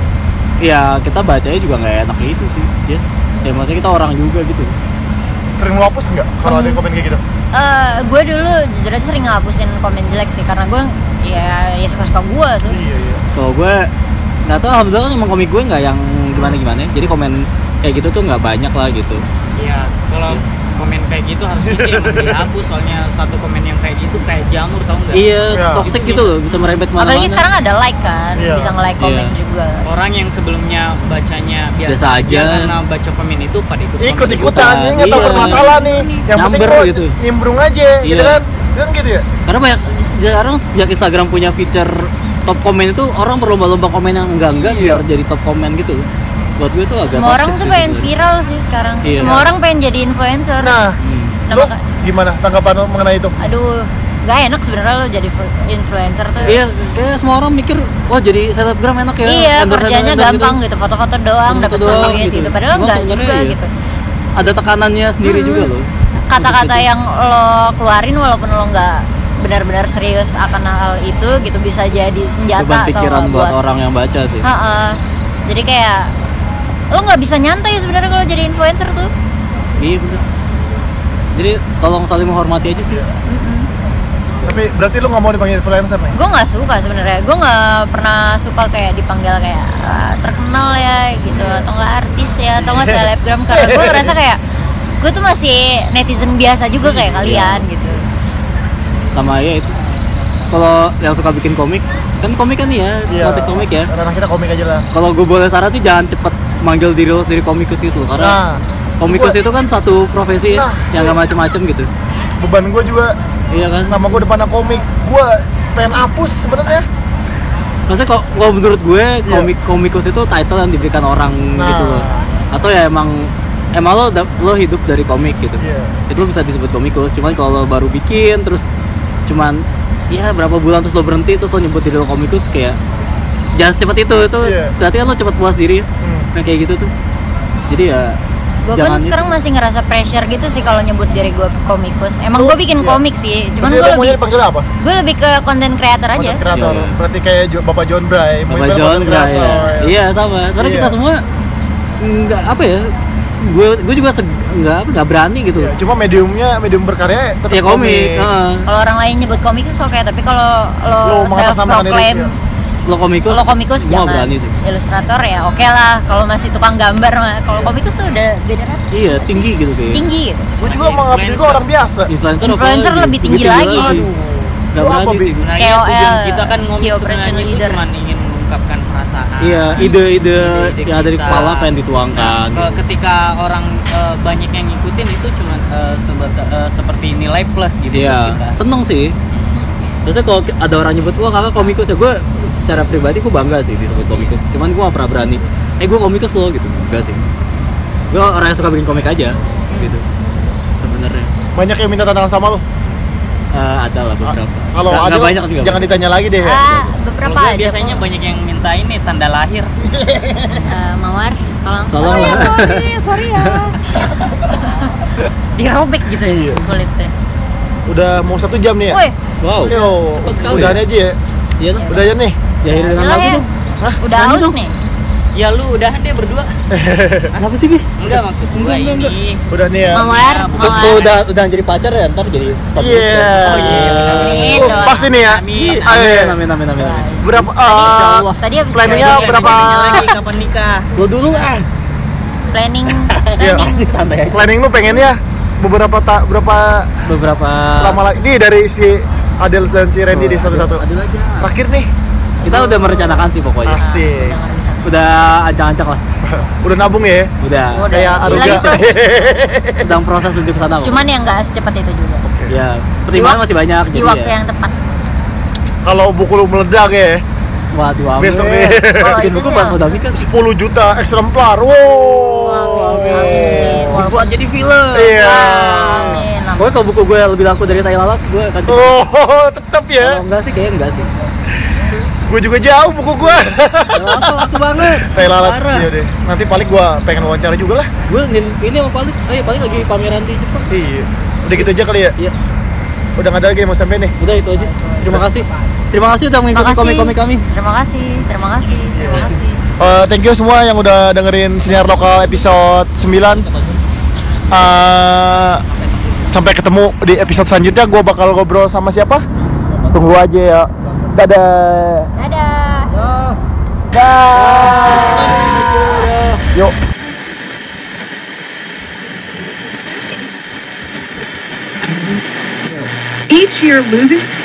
Speaker 2: ya kita bacanya juga nggak enak itu sih. Ya. Ya maksudnya kita orang juga gitu.
Speaker 3: Sering lu hapus nggak kalau
Speaker 1: Hmm.
Speaker 3: ada yang komen kayak gitu?
Speaker 1: Eh, gue dulu jujur aja sering ngapusin komen jelek sih karena gue ya ya suka-suka gue tuh.
Speaker 3: Iya iya.
Speaker 2: Kalau gue nggak tahu alhamdulillah kan emang komik gue nggak yang gimana gimana. Jadi komen kayak gitu tuh nggak banyak lah gitu.
Speaker 5: Iya, ya kalau komen kayak gitu harusnya sih emang dihapus soalnya satu komen yang kayak gitu kayak jamur tau nggak
Speaker 2: Iya,
Speaker 3: Ya.
Speaker 2: toxic gitu loh, bisa merembet mana-mana.
Speaker 1: apalagi sekarang ada like kan
Speaker 3: Iya.
Speaker 1: bisa nge like komen
Speaker 2: Iya.
Speaker 1: juga
Speaker 5: orang yang sebelumnya bacanya
Speaker 2: Biasa
Speaker 5: biasa,
Speaker 2: aja.
Speaker 5: karena baca komen itu pada ikut
Speaker 3: ikut
Speaker 5: komen juga.
Speaker 3: ikutan ini nggak tahu
Speaker 2: Iya.
Speaker 3: bermasalah nih yang penting
Speaker 2: Nyamber
Speaker 3: gua
Speaker 2: gitu.
Speaker 3: nimbrung aja gitu
Speaker 2: Iya.
Speaker 3: kan kan gitu ya
Speaker 2: Karena banyak sekarang sejak Instagram punya fitur top komen itu orang berlomba-lomba komen yang enggak-enggak biar jadi top komen gitu. Buat gue tuh agak
Speaker 1: semua orang
Speaker 2: toxic
Speaker 1: tuh
Speaker 2: sih
Speaker 1: pengen
Speaker 2: sebenarnya.
Speaker 1: viral sih sekarang
Speaker 2: Iya.
Speaker 1: semua orang pengen jadi influencer
Speaker 3: nah
Speaker 2: Hmm.
Speaker 1: Nah,
Speaker 3: lo
Speaker 1: maka-
Speaker 3: gimana tanggapan lo mengenai itu
Speaker 1: aduh nggak enak sebenarnya lo jadi flu- influencer tuh
Speaker 2: Iya, kayaknya semua orang mikir, wah jadi selebgram enak ya.
Speaker 1: Iya,
Speaker 2: endorse-endorse
Speaker 1: kerjanya
Speaker 2: enak
Speaker 1: gampang gitu, foto-foto doang,
Speaker 2: Foto-foto
Speaker 1: dapat
Speaker 2: doang
Speaker 1: duit
Speaker 2: gitu.
Speaker 1: gitu. Padahal
Speaker 2: Cuma
Speaker 1: enggak
Speaker 2: sebenarnya
Speaker 1: juga
Speaker 2: iya.
Speaker 1: gitu.
Speaker 2: Ada tekanannya sendiri
Speaker 1: Mm-mm.
Speaker 2: juga loh.
Speaker 1: Hmm. Kata-kata
Speaker 2: Gitu-gitu.
Speaker 1: yang lo keluarin walaupun lo nggak benar-benar serius akan hal itu gitu bisa jadi
Speaker 2: beban
Speaker 1: senjata atau
Speaker 2: pikiran
Speaker 1: nggak
Speaker 2: buat orang yang baca sih.
Speaker 1: Ha-ha. Jadi kayak lo nggak bisa nyantai sebenarnya kalau jadi influencer tuh.
Speaker 2: Iya bener. Jadi tolong saling menghormati aja sih.
Speaker 3: tapi berarti lo nggak mau dipanggil influencer nih
Speaker 1: Gue nggak suka sebenarnya. Gue nggak pernah suka kayak dipanggil kayak "Ah, terkenal ya gitu atau nggak artis ya atau nggak selebgram karena gue ngerasa kayak gue tuh masih netizen biasa juga
Speaker 2: Iya,
Speaker 1: kayak kalian gitu.
Speaker 2: Sama ya itu. Kalau yang suka bikin komik, kan komik kan nih ya, konteks komik ya.
Speaker 3: karena Iya. kita komik aja lah
Speaker 2: Kalau gue boleh saran sih jangan cepet manggil diri lo sendiri komikus gitu
Speaker 3: nah
Speaker 2: karena komikus
Speaker 3: gue-
Speaker 2: itu kan satu profesi ya,
Speaker 3: Nah.
Speaker 2: yang gak macem-macem gitu.
Speaker 3: beban gue juga
Speaker 2: Iya kan?
Speaker 3: nama gue depannya komik gue pengen hapus sebenarnya
Speaker 2: Maksudnya kok kalau menurut gue komik komikus itu title yang diberikan orang
Speaker 3: Iya. Nah.
Speaker 2: gitu loh. Atau ya emang emang lo dap- lo hidup dari komik gitu.
Speaker 3: Iya.
Speaker 2: Itu lo bisa disebut komikus. Cuman kalau lo baru bikin terus cuman ya berapa bulan terus lo berhenti terus lo nyebut diri lo komikus kayak jangan secepat itu itu
Speaker 3: Iya.
Speaker 2: berarti kan lo cepat puas diri
Speaker 3: Hmm.
Speaker 2: nah kayak gitu tuh jadi ya
Speaker 1: Gue pun
Speaker 2: jangan
Speaker 1: kan sekarang
Speaker 2: itu.
Speaker 1: masih ngerasa pressure gitu sih kalau nyebut diri gue komikus. Emang
Speaker 3: Lu-
Speaker 1: gue bikin
Speaker 3: iya.
Speaker 1: komik sih, cuman
Speaker 3: Berarti
Speaker 1: gue
Speaker 3: lo maunya
Speaker 1: lebih
Speaker 3: dipanggil apa
Speaker 1: gue lebih ke content creator aja.
Speaker 3: Content creator.
Speaker 2: Iya.
Speaker 3: berarti kayak Jo- bapak John Bray
Speaker 2: Sama John Bra ya. Iya sama. Soalnya
Speaker 3: oh, Iya.
Speaker 2: kita semua nggak apa ya? Gue gue juga seg- nggak apa nggak berani gitu.
Speaker 3: Iya, cuma mediumnya medium berkarya tetap
Speaker 2: ya komik. heeh.
Speaker 1: Kalau orang lain nyebut komikus oke, tapi kalau
Speaker 3: Lu
Speaker 1: lo self
Speaker 3: mengatasnamakan diri,
Speaker 1: proclaim
Speaker 3: iya.
Speaker 2: Lo komikus.
Speaker 1: kalau komikus
Speaker 2: semua
Speaker 1: jangan.
Speaker 2: berani sih.
Speaker 1: Ilustrator ya oke lah, kalau masih tukang gambar mah. Kalau komikus tuh udah beda kan?
Speaker 2: Iya tinggi gitu kayaknya.
Speaker 1: Tinggi gitu.
Speaker 3: gue juga menganggap diri gue orang biasa
Speaker 2: Influencer,
Speaker 1: Influencer
Speaker 2: apalagi.
Speaker 1: lebih tinggi lagi.
Speaker 2: Nggak
Speaker 3: Lu apa,
Speaker 2: berani
Speaker 3: Bi?
Speaker 2: sih.
Speaker 5: Nah,
Speaker 1: KOL,
Speaker 5: iya, tujuan kita kan ngomong
Speaker 1: key
Speaker 5: sebenarnya
Speaker 1: operational
Speaker 5: itu
Speaker 1: leader.
Speaker 5: cuma ingin mengungkapkan perasaan
Speaker 2: Iya ide-ide
Speaker 5: Hmm. ide-ide
Speaker 2: yang ada di
Speaker 5: kita.
Speaker 2: kepala pengen dituangkan.
Speaker 5: Nah, ke- ketika orang eh, banyak yang ngikutin itu cuma eh, sebet- eh, seperti nilai plus gitu
Speaker 2: Iya
Speaker 5: buat kita.
Speaker 2: seneng sih. Terusnya kalau ki- ada orang nyebut, wah kakak komikus ya, gue secara pribadi gue bangga sih disebut komikus Cuman gue gak pernah berani, eh gue komikus loh gitu, enggak sih Gue orang yang suka bikin komik aja, gitu sebenarnya
Speaker 3: banyak yang minta tantangan sama lo
Speaker 2: Eh, Ada lah
Speaker 3: Ah,
Speaker 2: beberapa
Speaker 3: kalau
Speaker 2: Nggak-
Speaker 3: ada
Speaker 2: nggak banyak juga
Speaker 3: jangan ditanya lagi deh
Speaker 1: Ah,
Speaker 5: Kalau
Speaker 1: beberapa
Speaker 5: gue
Speaker 1: aja.
Speaker 5: biasanya
Speaker 1: kok.
Speaker 5: banyak yang minta ini tanda lahir
Speaker 1: Eh, Mawar, tolong.
Speaker 2: Tolong
Speaker 1: Oh ya,
Speaker 5: iya,
Speaker 2: lah.
Speaker 1: sorry, sorry ya. Dirobek gitu ya
Speaker 3: Iya.
Speaker 1: kulitnya.
Speaker 3: udah mau satu jam nih ya
Speaker 1: Woi,
Speaker 2: Wow,
Speaker 3: Yo,
Speaker 2: Cepat sekali
Speaker 3: udahan
Speaker 2: ya.
Speaker 3: aja ya
Speaker 2: iya lah,
Speaker 3: udah aja nih
Speaker 2: diakhirin dengan
Speaker 1: Yalah
Speaker 2: lagu
Speaker 1: ya.
Speaker 2: tuh
Speaker 3: Hah?
Speaker 1: udah
Speaker 2: Nyanyi
Speaker 1: haus
Speaker 2: dong.
Speaker 1: nih.
Speaker 5: ya lu udahan deh berdua
Speaker 2: Kenapa sih, Bi?
Speaker 5: enggak maksud gue
Speaker 2: Enggak, enggak, enggak.
Speaker 5: ini
Speaker 3: udah nih ya
Speaker 1: Mawar,
Speaker 5: Nah, bukan-
Speaker 2: Kalau
Speaker 1: Mawar.
Speaker 2: udah, udah jadi pacar ya, ntar jadi sobat
Speaker 3: Iya.
Speaker 2: Oh iya
Speaker 1: Amin,
Speaker 3: Oh,
Speaker 1: doain.
Speaker 3: pasti nih ya.
Speaker 5: Amin,
Speaker 3: Ah, iya, iya.
Speaker 2: Amin, amin, amin, amin, amin.
Speaker 3: Berapa?
Speaker 1: Insya
Speaker 3: eh
Speaker 1: Allah. Tadi habis
Speaker 3: planningnya
Speaker 1: jalan-jalan.
Speaker 3: berapa?
Speaker 5: Iya, lagi kapan nikah
Speaker 2: Lo dulu ah
Speaker 1: Planning.
Speaker 3: Iya.
Speaker 1: planning.
Speaker 2: Santai aja
Speaker 3: Planning lu pengennya beberapa tak berapa
Speaker 2: Beberapa
Speaker 3: lama lagi? Nih dari si Adel dan si Randy
Speaker 2: Oh,
Speaker 3: di satu-satu.
Speaker 2: Ada lagi ah.
Speaker 3: Terakhir nih.
Speaker 2: Kita udah merencanakan sih pokoknya
Speaker 3: Asik.
Speaker 1: Jangan bisa.
Speaker 2: Udah ancang-ancang lah
Speaker 3: Udah nabung ya.
Speaker 2: Udah
Speaker 1: Udah.
Speaker 3: Kayak
Speaker 2: Iya.
Speaker 1: Lagi
Speaker 3: Aruga.
Speaker 1: proses.
Speaker 2: Sedang proses menuju ke sana kok.
Speaker 1: Cuman yang nggak secepat itu juga.
Speaker 2: Ya,
Speaker 1: Di
Speaker 2: pertimbangan
Speaker 1: wak-
Speaker 2: masih banyak
Speaker 1: Di
Speaker 2: jadi
Speaker 1: waktu
Speaker 2: ya.
Speaker 1: yang tepat.
Speaker 3: Kalau buku lu meledak ya.
Speaker 2: Waduh, amin.
Speaker 3: Besok nih.
Speaker 1: Kalau
Speaker 2: Bikin
Speaker 1: itu
Speaker 2: buku
Speaker 1: sih
Speaker 2: buat
Speaker 1: ya.
Speaker 2: modal nikah.
Speaker 3: 10 juta eksemplar. Wow.
Speaker 1: Amin, amin sih. Walaupun-
Speaker 2: Buat jadi film.
Speaker 3: Iya.
Speaker 1: Amin.
Speaker 2: Pokoknya kalau buku gue lebih laku dari tai lalat, gue akan coba.
Speaker 3: Oh, tetap
Speaker 2: Kalau
Speaker 3: ya.
Speaker 2: enggak sih kayaknya enggak sih.
Speaker 3: Gue juga jauh buku gua.
Speaker 2: Tai lalat laku banget.
Speaker 3: Tai lalat.
Speaker 2: Parah.
Speaker 3: Iya deh. Nanti paling gua pengen wawancara juga lah.
Speaker 2: Gue ini- ini sama paling, oh iya paling lagi pameran di Jepang.
Speaker 3: Iya. Udah gitu aja kali ya.
Speaker 2: Iya,
Speaker 3: Udah nggak ada lagi yang mau sampai nih.
Speaker 2: udah itu aja. Terima kasih. Terima kasih udah
Speaker 1: Terima
Speaker 2: mengikuti
Speaker 1: kasih.
Speaker 2: komik-komik kami.
Speaker 1: Terima kasih, terima kasih, terima
Speaker 3: Iya.
Speaker 1: kasih.
Speaker 3: Eh, thank you semua yang udah dengerin siniar lokal episode 9 Eh, sampai ketemu di episode selanjutnya gue bakal ngobrol sama siapa tunggu aja ya dadah
Speaker 1: Dadah.
Speaker 3: yuk
Speaker 2: each year losing